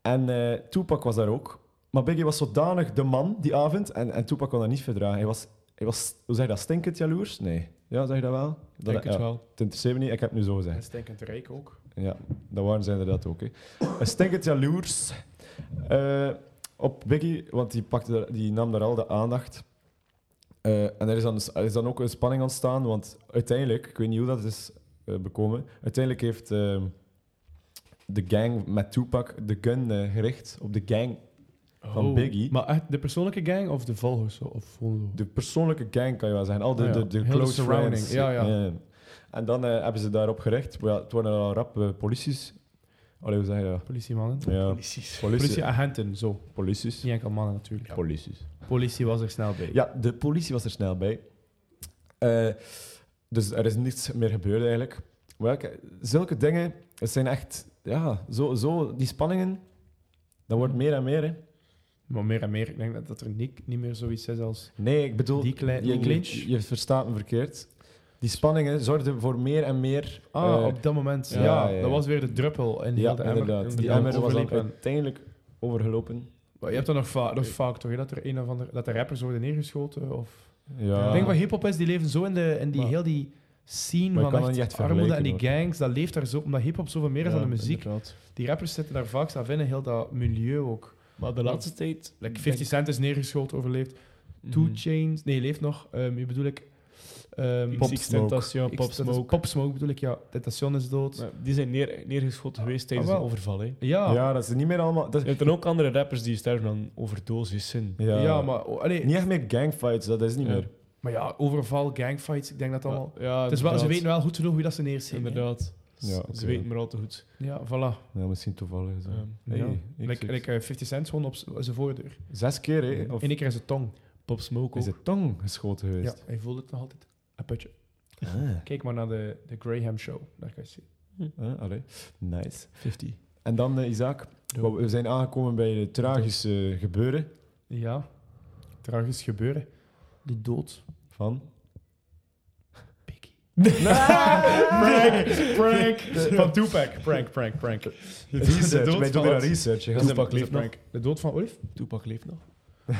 C: En eh, Tupac was daar ook. Maar Biggie was zodanig de man die avond. En, en Tupac kon dat niet verdragen. Hij was, hij was, hoe zeg je dat, stinkend jaloers? Nee. Ja, zeg je dat wel?
B: Ik
C: Dat,
B: denk het
C: ja.
B: wel.
C: Het interesseert me niet, ik heb het nu zo gezegd.
D: En stinkend rijk ook.
C: Ja, dat waren ze inderdaad ook. Hè. Een stinkend jaloers eh, op Biggie, want die, pakte, daar- die nam daar al de aandacht. Eh, en er is, dan, er is dan ook een spanning ontstaan, want uiteindelijk, ik weet niet hoe dat is eh, bekomen, uiteindelijk heeft ehm, de gang met Tupac de gun eh, gericht op de gang van
D: Oh,
C: Biggie.
D: Maar echt de persoonlijke gang of de volgers? zo, Of volgers?
C: De persoonlijke gang kan je wel zeggen, al de,
D: Ah ja,
C: de, de
D: heel de
C: close
D: surrounding,
C: friends.
D: ja, ja.
C: En dan eh, hebben ze daarop gericht. Maar ja, het waren al rap eh, polities. Allee, hoe zeg je dat?
D: politiemannen.
C: Ja,
B: Precies.
C: politie,
D: Politieagenten, zo.
C: polities.
D: Niet enkel mannen natuurlijk.
C: Polities.
D: Politie was er snel bij.
C: Ja, de politie was er snel bij. Eh, dus er is niets meer gebeurd eigenlijk. Maar ja, kijk, zulke dingen, het zijn echt, ja, zo, zo, die spanningen, dat wordt meer en meer. Hè.
D: Maar meer en meer, ik denk dat, dat er niet, niet meer zoiets is als...
C: Nee, ik bedoel,
D: Die kleine
C: je,
D: glitch.
C: je, je verstaat me verkeerd. Die spanningen zorgden voor meer en meer.
D: Ah,
C: eh,
D: op dat moment.
C: ja,
D: Ja,
C: ja, ja.
D: dat was weer de druppel in heel
C: ja,
D: de emmer.
C: inderdaad.
D: Die
C: Die emmer was dan
D: overliep en-
C: uiteindelijk overgelopen.
D: Maar je hebt dat nog, va- nog vaak toch, hè, dat er een of ander, dat de rappers worden neergeschoten. Of...
C: Ja.
D: Ik denk wat hip-hop is, die leven zo in, de, in die,
C: Maar-
D: heel die scene
C: Maar je kan dat
D: van echt
C: niet echt
D: armoede en die
C: vergelijken,
D: gangs. Dat leeft daar zo, omdat hip-hop zoveel meer is dan de muziek.
B: inderdaad.
D: Die rappers zitten daar vaak zelf in, in heel dat milieu ook.
B: Maar de laatste tijd... Mhm.
D: Like 50 Cent is neergeschoten, overleeft. Two Chains, nee, leeft nog. Ehm je bedoel ik... ehm,
B: Pop
C: Smoke.
B: Smoke.
D: Ik-
B: Pop
D: dat is
B: Smoke.
D: Pop Smoke bedoel ik, ja. Tentation is dood.
B: Ja, Die zijn neer, neergeschoten geweest tijdens
D: Ah,
B: een
D: wel.
B: overval. Hè.
D: Ja, ja,
C: ja, dat is niet meer allemaal. Dat
B: Je
C: is,
B: hebt dan ook andere rappers die sterven aan overdosissen.
C: ja.
D: maar, oh, allee,
C: Niet echt meer gangfights, dat is niet
B: Ja.
C: meer.
D: maar ja, overval, gangfights, ik denk dat allemaal...
B: Ja,
D: het is wel, ze
B: inderdaad.
D: weten wel goed genoeg wie dat ze neerzien. hè.
B: Inderdaad.
C: Ja, oké.
B: Ze weten maar al te goed. ehm,
D: Ja, voilà.
C: Ja, misschien toevallig. Zo.
B: Ja.
C: Hey,
D: ja.
C: ik
D: Like,
C: zie-
D: like, eh, 50 Cent gewoon op z- zijn voordeur.
C: Zes keer, hè? Of
D: En één keer in zijn tong.
B: Pop Smoke ook.
C: is de tong geschoten
D: Ja,
C: geweest?
D: hij voelde het nog altijd. Een putje. Kijk maar naar de, de Graham Show. Daar kan je zien.
C: Ah, allee. Nice.
B: 50.
C: En dan, eh, Isaac,
B: Ja.
C: we zijn aangekomen bij het tragische gebeuren
D: Ja. Tragisch gebeuren. De dood.
C: van...
D: Biggie.
C: Prank! Prank!
D: Van Tupac. Prank, prank, prank. De
C: Research.
D: dood
C: Wij doen
D: van
C: hier
D: wat?
C: aan research. hè, gasten.
B: Tupac leeft nog.
D: De dood van Olif?
B: Tupac leeft nog.
C: Op een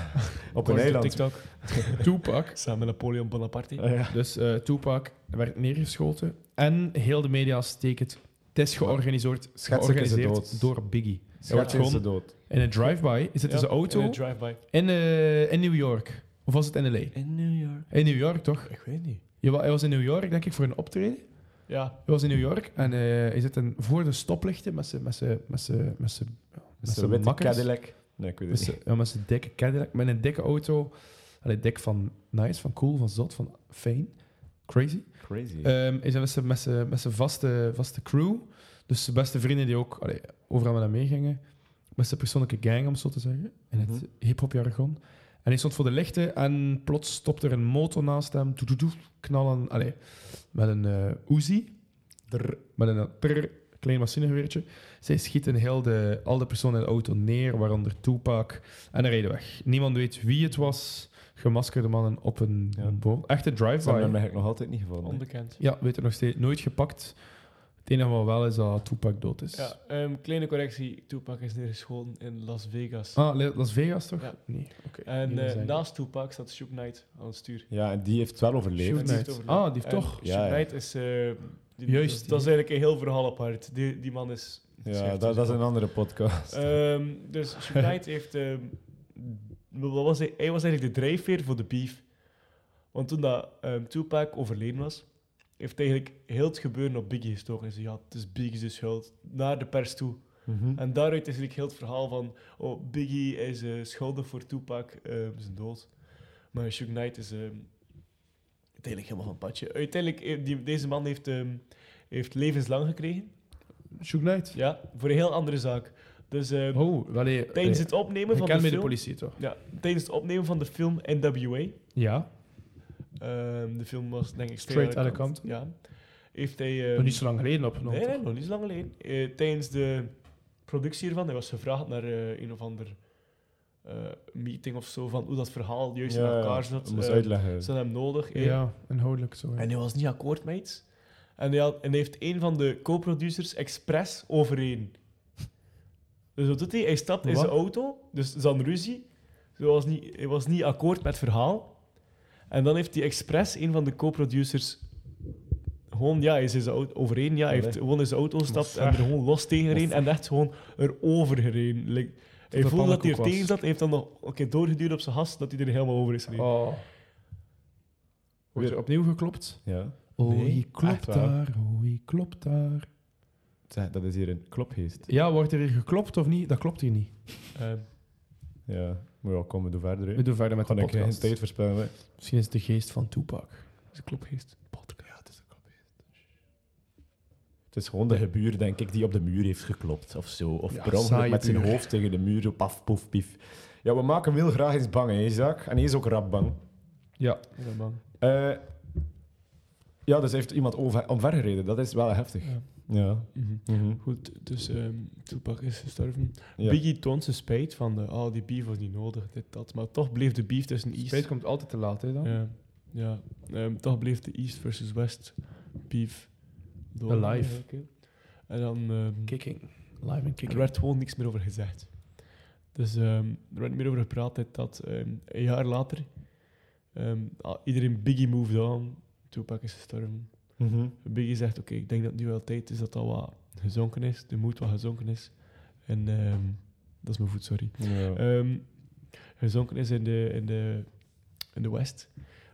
B: Volgens de
C: eiland.
B: TikTok.
D: Tupac.
B: Samen met Napoleon Bonaparte.
C: Ah, ja.
D: Dus eh Tupac werd neergeschoten. En heel de media steekt het. Het is georganiseerd,
C: Schetsen is de
D: georganiseerd
C: dood.
D: door Biggie.
C: Schat
D: wordt
C: is
D: gewoon-
C: de dood.
D: In een drive-by zit
B: Ja,
D: in zijn auto
B: In een
D: in,
B: drive-by.
D: eh, in New York. Of was het in L.A.?
B: In New York.
D: In New York, toch?
B: Ik weet niet.
D: Jawel, Hij was in New York, denk ik, voor een optreden.
B: Ja.
D: Hij was in New York en eh, hij zit in, voor de stoplichten met zijn met zijn- met zijn- met zijn-
C: Is
D: met
C: de
D: zijn
C: witte
D: makkers.
C: Cadillac. Nee, ik weet
D: met
C: het niet.
D: zijn- ja, met zijn dikke Cadillac, met een dikke auto. Allee, dik van nice, van cool, van zot, van fijn. Crazy.
B: Eh,
C: Crazy.
D: Ehm, hij zit met zijn- met zijn- met zijn vaste, vaste crew. Dus zijn beste vrienden die ook allee, overal met hem meegingen. Met zijn persoonlijke gang, om het zo te zeggen. In het
C: Mhm.
D: hip-hop jargon. En hij stond voor de lichten en plots stopt er een motor naast hem. Doe, doe, doe, knallen. Allee, met een eh Uzi. Drr, met een trrr, klein machinegeweertje. Zij schieten heel de, al de personen in de auto neer, waaronder Tupac. En dan rijden weg. Niemand weet wie het was. Gemaskerde mannen op een
C: Ja.
D: boom. Echte
C: Ze hebben hem
D: drive-by.
C: eigenlijk nog altijd niet gevonden. hè.
B: Onbekend.
D: Ja, weet er nog steeds. Nooit gepakt. Het enige wat wel is dat Tupac dood is.
B: Ja, ehm, kleine correctie. Tupac is neergeschoten in Las Vegas.
D: Ah, Le- Las Vegas toch?
B: Ja.
D: Nee. oké.
B: En
D: Niet meer
B: eh,
D: zeggen.
B: naast Toepak staat Shook Knight aan het stuur.
C: Ja, en die heeft wel
D: Shoot
C: overleefd.
B: Shoot. die heeft
D: Knight.
B: overleefd.
D: Ah, die heeft
B: En
D: toch.
B: Shook
C: Ja, ja.
B: Knight is... eh, die-
D: Juist,
B: Dat,
D: ja.
B: dat is eigenlijk een heel verhaal apart. Die, die man is...
C: Ja,
B: schrijft
C: dat, dat is
B: dus-
C: een andere podcast.
B: Ehm, dus Shook Knight heeft... ehm, wat was hij? hij was eigenlijk de drijfveer voor de beef. Want toen dat ehm, Tupac overleden was, heeft hij eigenlijk heel het gebeuren op Biggie gestoken. Hij zei, ja, het is Biggie's schuld. Naar de pers toe.
C: Mhm.
B: En daaruit is eigenlijk heel het verhaal van... Oh, Biggie is eh, schuldig voor Tupac, eh, zijn dood. Maar Shook Knight is... ehm uiteindelijk helemaal van het padje. Uiteindelijk, eh, die, deze man heeft, ehm, heeft levenslang gekregen.
D: Shook Knight.
B: Ja, voor een heel andere zaak. Dus ehm,
D: Oh, wel nee.
B: tijdens
D: nee.
B: het opnemen
D: Je
B: van de
D: kent
B: film...
D: me de politie toch?
B: Ja, tijdens het opnemen van de film NWA...
D: Ja.
B: ehm, de film was denk ik...
D: Straight
B: Outta
D: Outta Compton.
B: Ja. Heeft hij...
D: Nog
B: ehm,
D: niet zo lang geleden opgenomen.
B: Nee,
D: toch?
B: nee, nog niet zo lang geleden. Eh, tijdens de productie hiervan, hij was gevraagd naar eh, een of ander eh, meeting of zo, van hoe dat verhaal juist in elkaar zat.
C: Ik moest
B: Eh,
C: uitleggen.
B: Ze hadden hem nodig. eh.
D: Ja, inhoudelijk zo. ja.
B: En hij was niet akkoord met iets. En hij, had- en hij heeft een van de co-producers expres overeen. Dus wat doet hij? Hij stapt in
D: Wat?
B: zijn auto, dus zijn ruzie. Hij was, niet, hij was niet akkoord met het verhaal. En dan heeft hij expres een van de co-producers gewoon, ja, hij is in zijn auto overeen. Ja, hij heeft
C: Allee.
B: gewoon in zijn auto gestapt en
D: ver.
B: er gewoon los tegen gereden en echt gewoon erover gereden. Like, hij
D: dat
B: voelde dat hij
D: pannenkoek
B: er
D: was.
B: tegen zat en heeft dan nog oké doorgeduwd op zijn has dat hij er helemaal over is gereden.
D: Oh. Wordt
C: Weer-
D: er opnieuw geklopt?
C: Ja.
D: Oh,
C: Nee,
D: je klopt
C: echt waar.
D: daar. Oh, je klopt daar.
C: Zeg, Dat is hier een klopgeest.
D: Ja, wordt er hier geklopt of niet? Dat klopt hier niet.
B: Ehm,
C: Ja. Maar ja, kom, we doen verder. hè.
D: We doen verder met
C: Kan
D: de
C: ik geen
D: podcast.
C: tijd voorspellen. hè.
D: Misschien is het de geest van Tupac.
B: is een klopgeest.
C: Ja, het is een klopgeest. Het is gewoon de gebuur, denk ik, die op de muur heeft geklopt of zo. Of
D: Ja,
C: per ongeluk
D: saaie
C: met zijn
D: buur.
C: hoofd tegen de muur, zo paf, poef, pief. Ja, we maken hem heel graag eens bang, hè, Isaac. En hij is ook rap bang.
D: Ja.
B: Ja, man.
C: Eh, ja, dus heeft iemand over, omvergereden. Dat is wel heftig.
B: Ja.
C: Ja.
B: Mhm.
C: Mhm.
B: Goed, dus ehm Tupac is gestorven.
C: Ja.
B: Biggie toont zijn spijt van, de, oh, die beef was niet nodig, dit, dat. Maar toch bleef de beef tussen East...
D: Spijt komt altijd te laat, hè, dan?
B: Ja, ja. Ehm, toch bleef de East versus West beef door.
D: Alive.
B: eigenlijk, hè. En dan ehm,
D: Kicking. Live en
B: er
D: kicking.
B: werd gewoon niks meer over gezegd. Dus ehm, er werd meer over gepraat dat- dat ehm, een jaar later ehm, al- iedereen Biggie moved on, Tupac is gestorven.
C: Mhm.
B: Biggie zegt, oké, ik denk dat het nu wel tijd is dat dat wat gezonken is, de moed wat gezonken is. En ehm, dat is mijn voet, sorry.
C: Ja.
D: Eh,
B: Ehm, gezonken is in de, in, de, in de West.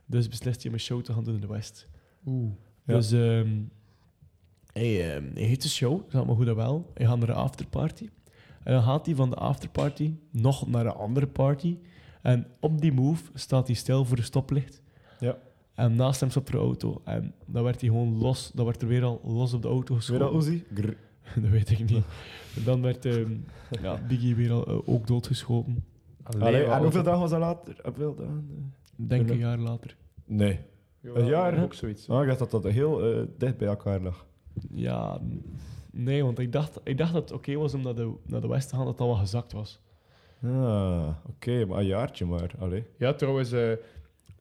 B: Dus beslist hij om een show te gaan doen in de West.
D: Oeh.
C: Ja.
B: Dus ehm, hij, ehm, hij heeft een show, dat maar goed en wel. Hij gaat naar de afterparty. En dan gaat hij van de afterparty nog naar een andere party. En op die move staat hij stil voor een stoplicht.
C: Ja.
B: En naast hem staat er een auto. En dan werd hij gewoon los. Dan werd er weer al los op de auto
C: Weer
B: geschoten.
C: dat Uzi? Grr.
B: dat weet ik niet. Dan werd ehm, ja, Biggie weer al, eh, ook doodgeschoten.
C: Allee,
D: wel,
C: en hoeveel
D: ook-
C: dagen was dat later? Hoeveel dagen?
B: Denk een jaar later.
C: Nee.
D: Jawel,
C: jaar, hè?
D: Ook zoiets.
C: Ah, ik dacht dat dat heel eh, dicht bij elkaar lag.
B: Ja, n- nee, want ik dacht, ik dacht dat het oké was om naar de, naar de West te gaan, dat dat wel gezakt was.
C: Ah, oké, maar een jaartje maar. Allee.
D: Ja, trouwens, eh,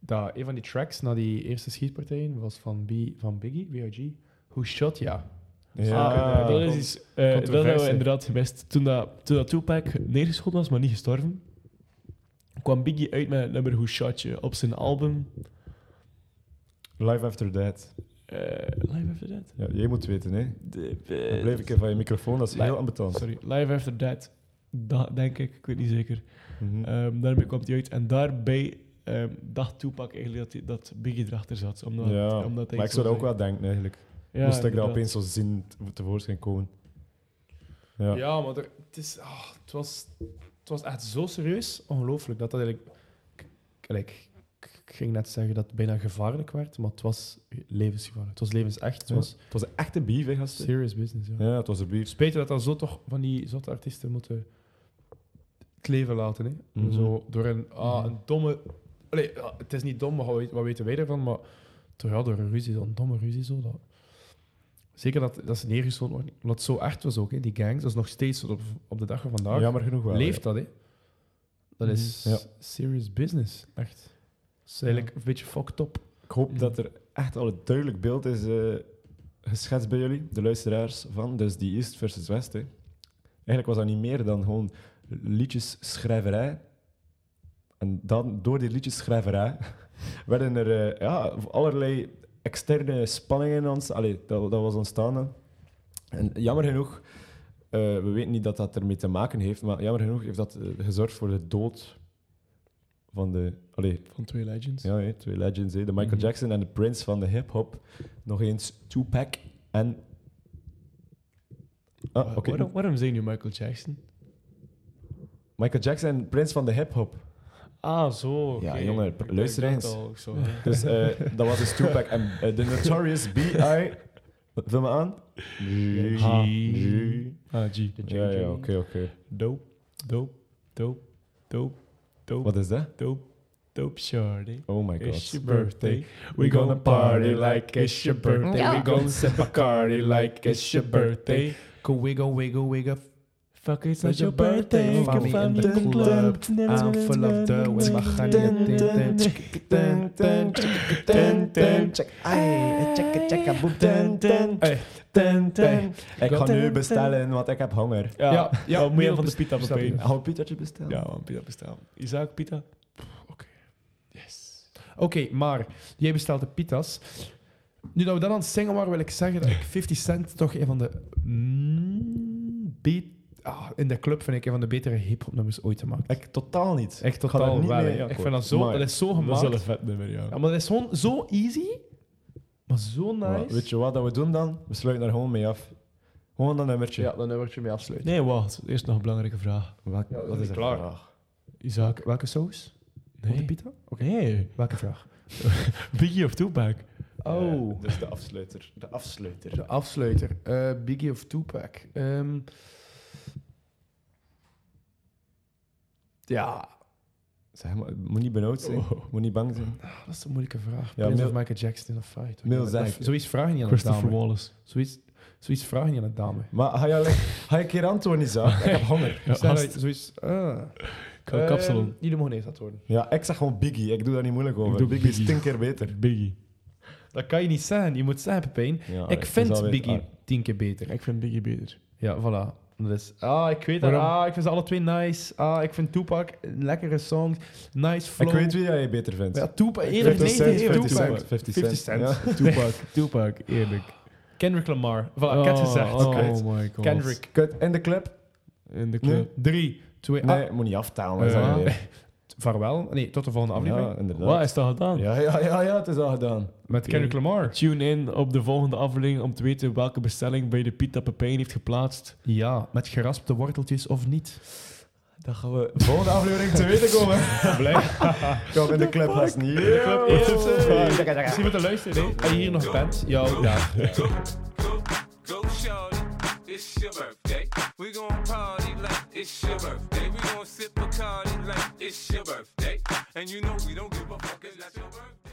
D: dat, een van die tracks na die eerste schietpartijen was van, B, van Biggie, B.I.G. Who Shot Ya.
C: Ja,
B: Ah, dat is iets, eh, dat hebben we
D: controverse.
B: inderdaad gemist. Toen dat, toen dat Tupac neergeschoten was, maar niet gestorven, kwam Biggie uit met het nummer Who Shot You op zijn album
C: Life After That.
B: eh, Live After Dead.
C: Ja, jij moet weten, hè.
B: De,
C: Dan blijf ik even van je microfoon, dat is
B: Nee.
C: heel ambetant.
B: Sorry, Live After Dead, da- denk ik, ik weet niet zeker.
C: Mhm.
B: Ehm, daarmee kwam hij uit en daarbij ehm, dacht Tupac eigenlijk dat, hij- dat Biggie erachter zat. Omdat,
C: ja,
B: omdat hij
C: maar ik
B: zo
C: zou dat ook
B: zei.
C: wel denken, eigenlijk.
B: Ja,
C: Moest ik dat
B: inderdaad.
C: opeens zo zien te- tevoorschijn komen. Ja.
D: Ja, maar er, het, is, ah, het, was, het was echt zo serieus. Ongelooflijk dat dat eigenlijk... k- Kijk, ik ging net zeggen dat het bijna gevaarlijk werd, maar het was levensgevaarlijk. Het was levensecht. Het
C: Ja.
D: was
C: Het was een echte beef, hè, gasten.
D: serious business. Ja.
C: Ja, het was een beef.
D: Spijt dat dan zo toch van die zotte artiesten moeten het leven laten. Hè?
C: Mhm.
D: Zo door een, ah,
B: Mhm.
D: een domme. Allee, ja, het is niet dom, maar wat weet- wat weten wij daarvan? Maar toch ja, door een ruzie, zo'n domme ruzie zo. Dat... Zeker dat, dat ze neergeschoten worden. Omdat het zo echt was ook, hè? die gangs. Dat is nog steeds tot op, op de dag van vandaag.
C: Jammer genoeg wel.
D: Leeft dat, hè? Dat is
C: Mhm. Ja.
D: serious business. Echt. Dat is eigenlijk een beetje fucked up.
C: Ik hoop dat er echt al een duidelijk beeld is eh, geschetst bij jullie, de luisteraars van. Dus die East versus West. Hè. Eigenlijk was dat niet meer dan gewoon liedjesschrijverij. En dan, door die liedjesschrijverij, werden er eh, ja, allerlei externe spanningen ons, allee, dat, dat was ontstaan. hè. En jammer genoeg, eh, we weten niet dat dat ermee te maken heeft, maar jammer genoeg heeft dat eh, gezorgd voor de dood van de. Allee,
B: Van twee legends.
C: ja, hé, twee legends. hé. De Michael
B: Mhm.
C: Jackson en de Prince van de hip-hop. Nog eens Tupac en. Ah, oké.
B: waarom, waarom zei je nu Michael Jackson?
C: Michael Jackson en Prince van de hip-hop.
B: Ah, zo.
C: Ja,
B: oké.
C: jongen,
B: Ik
C: luister
B: dacht
C: eens.
B: al, ik zou- ja.
C: Dus eh, dat was dus Tupac en eh, de Notorious B.I. Vul me aan.
B: Ha.
C: G.
B: Ah, G.
C: Ja, ja, oké, oké.
B: Dope, dope, dope, dope, dope,
C: Wat is dat?
B: dope, dope, shorty.
C: Oh my
B: It's
C: god.
B: your birthday. We gonna party like it's your birthday.
F: Ja.
B: We gonna sip Bacardi like it's your birthday.
D: Go wiggle, wiggle, wiggle.
B: Fuck, it's
D: not
B: not
D: your
B: your
D: birthday.
B: birthday.
D: Fuck,
B: Come
D: in the
B: in the
D: club.
B: club.
D: I'm full of dough and my honey. Dun, dun, dun, dun, dun, dun. Hey. Hey.
C: Ik ga nu bestellen, want ik heb honger.
B: Ja,
D: Ja,
B: ja,
D: ja,
B: moet je
D: nu
B: van
D: op
B: de pita
D: bestel-
B: bestellen.
C: Hou een pietertje bestellen.
B: Ja, man, pita bestel. Isaac, pita.
D: Oké, maar jij bestelt de pita's. Nu dat we dan aan het zingen waren, wil ik zeggen dat ik 50 Cent toch een van de mm, be- ah, in de club vind ik een van de betere hip-hopnummers ooit gemaakt.
C: Ik totaal niet.
D: Echt
C: ga daar
D: totaal
C: niet
D: waar.
C: mee
D: hè. ik
C: akkoord.
D: vind dat zo,
C: Maar-
D: dat is zo
B: Dat is
D: gemaakt.
B: wel een vet nummer, ja.
D: Ja, maar dat is gewoon zo easy, maar zo nice.
C: Maar weet je wat dat we doen dan? We sluiten daar gewoon mee af. Gewoon dat nummertje.
D: Ja, dan word je mee afsluiten.
B: Nee, wacht. Eerst nog een belangrijke vraag.
C: Wat,
D: Ja,
C: wat is er
D: klaar.
C: vraag?
B: Isaac.
D: Welke saus? Op de
B: Nee.
D: pita?
B: Nee.
D: Welke vraag?
B: Biggie of Tupac?
D: Oh.
C: Eh, dus de afsluiter. De afsluiter.
D: De afsluiter. Eh, Biggie of Tupac? Ehm, ja,
C: Zeg maar, moet niet benauwd zijn.
B: Oh.
C: Moet niet bang zijn.
D: ah, dat is een moeilijke vraag.
C: Ja,
D: Prince
C: Mil-
D: of Michael Jackson of Fight.
C: Mil
D: Dat-
C: Zaak.
D: Zoiets vraag je niet aan een
B: Christopher
D: dame.
B: Wallace.
D: Zoiets, zoiets vraag je niet aan een dame.
C: Maar ga je, alleen- ga je een keer antwoorden, Isaac? Ik heb honger.
B: Ja,
D: Stel dat je
B: gast.
D: zoiets... ah.
B: Ik wil kapsalon.
D: Ehm, jullie mogen eerst antwoorden.
C: Ja, ik zeg gewoon Biggie. Ik doe daar niet moeilijk over.
B: Ik doe
C: Biggie is
B: Biggie.
C: tien keer beter.
B: Biggie.
D: Dat kan je niet zeggen. Je moet zeggen, Pepijn.
C: Ja,
D: ik
C: het
D: vind
C: is alweer-
D: Biggie
C: ah,
D: tien keer beter.
B: Ik vind Biggie beter.
D: Ja, voilà. Dat is, ah, ik weet dat.
B: Waarom?
D: Ah, ik vind ze alle twee nice. Ah, ik vind Tupac een lekkere songs. Nice flow.
C: Ik weet wie jij beter vindt.
D: Ja, Tupac. Eerlijk,
C: 50
D: nee,
C: cent,
D: nee,
C: 50
D: Tupac.
C: cent. 50
D: 50
C: cent.
D: cent.
C: Ja.
B: Tupac. Tupac, eerlijk.
D: Kendrick Lamar. Voilà, ik heb het gezegd.
B: Oh,
C: Oké.
B: my god.
D: Kendrick.
C: Kut, In de club?
B: In de
C: Nee.
B: club.
D: Drie, twee, ah,
C: Nee, moet niet aftalen.
D: Ja.
C: zeg je.
D: vaarwel. Nee, tot de volgende aflevering.
C: Ja, inderdaad.
B: Wat is dat gedaan?
C: Hm? Ja, ja, ja, ja, het is al gedaan.
D: Met Kendrick Lamar.
B: Tune in op de volgende aflevering om te weten welke bestelling bij de Pita Pepijn heeft geplaatst.
D: Ja, met geraspte worteltjes of niet.
C: Dan gaan we volgende aflevering te weten komen. Kom in de club, haast niet. De club
D: Misschien moeten luisteren, nee. En je hier nog bent. Yo, daar.
F: go, go, go, shorty. It's your birthday. We gon' party like it's your birthday. We gon' sip a like it's your birthday. And you know we don't give a fuck 'cause that's your birthday.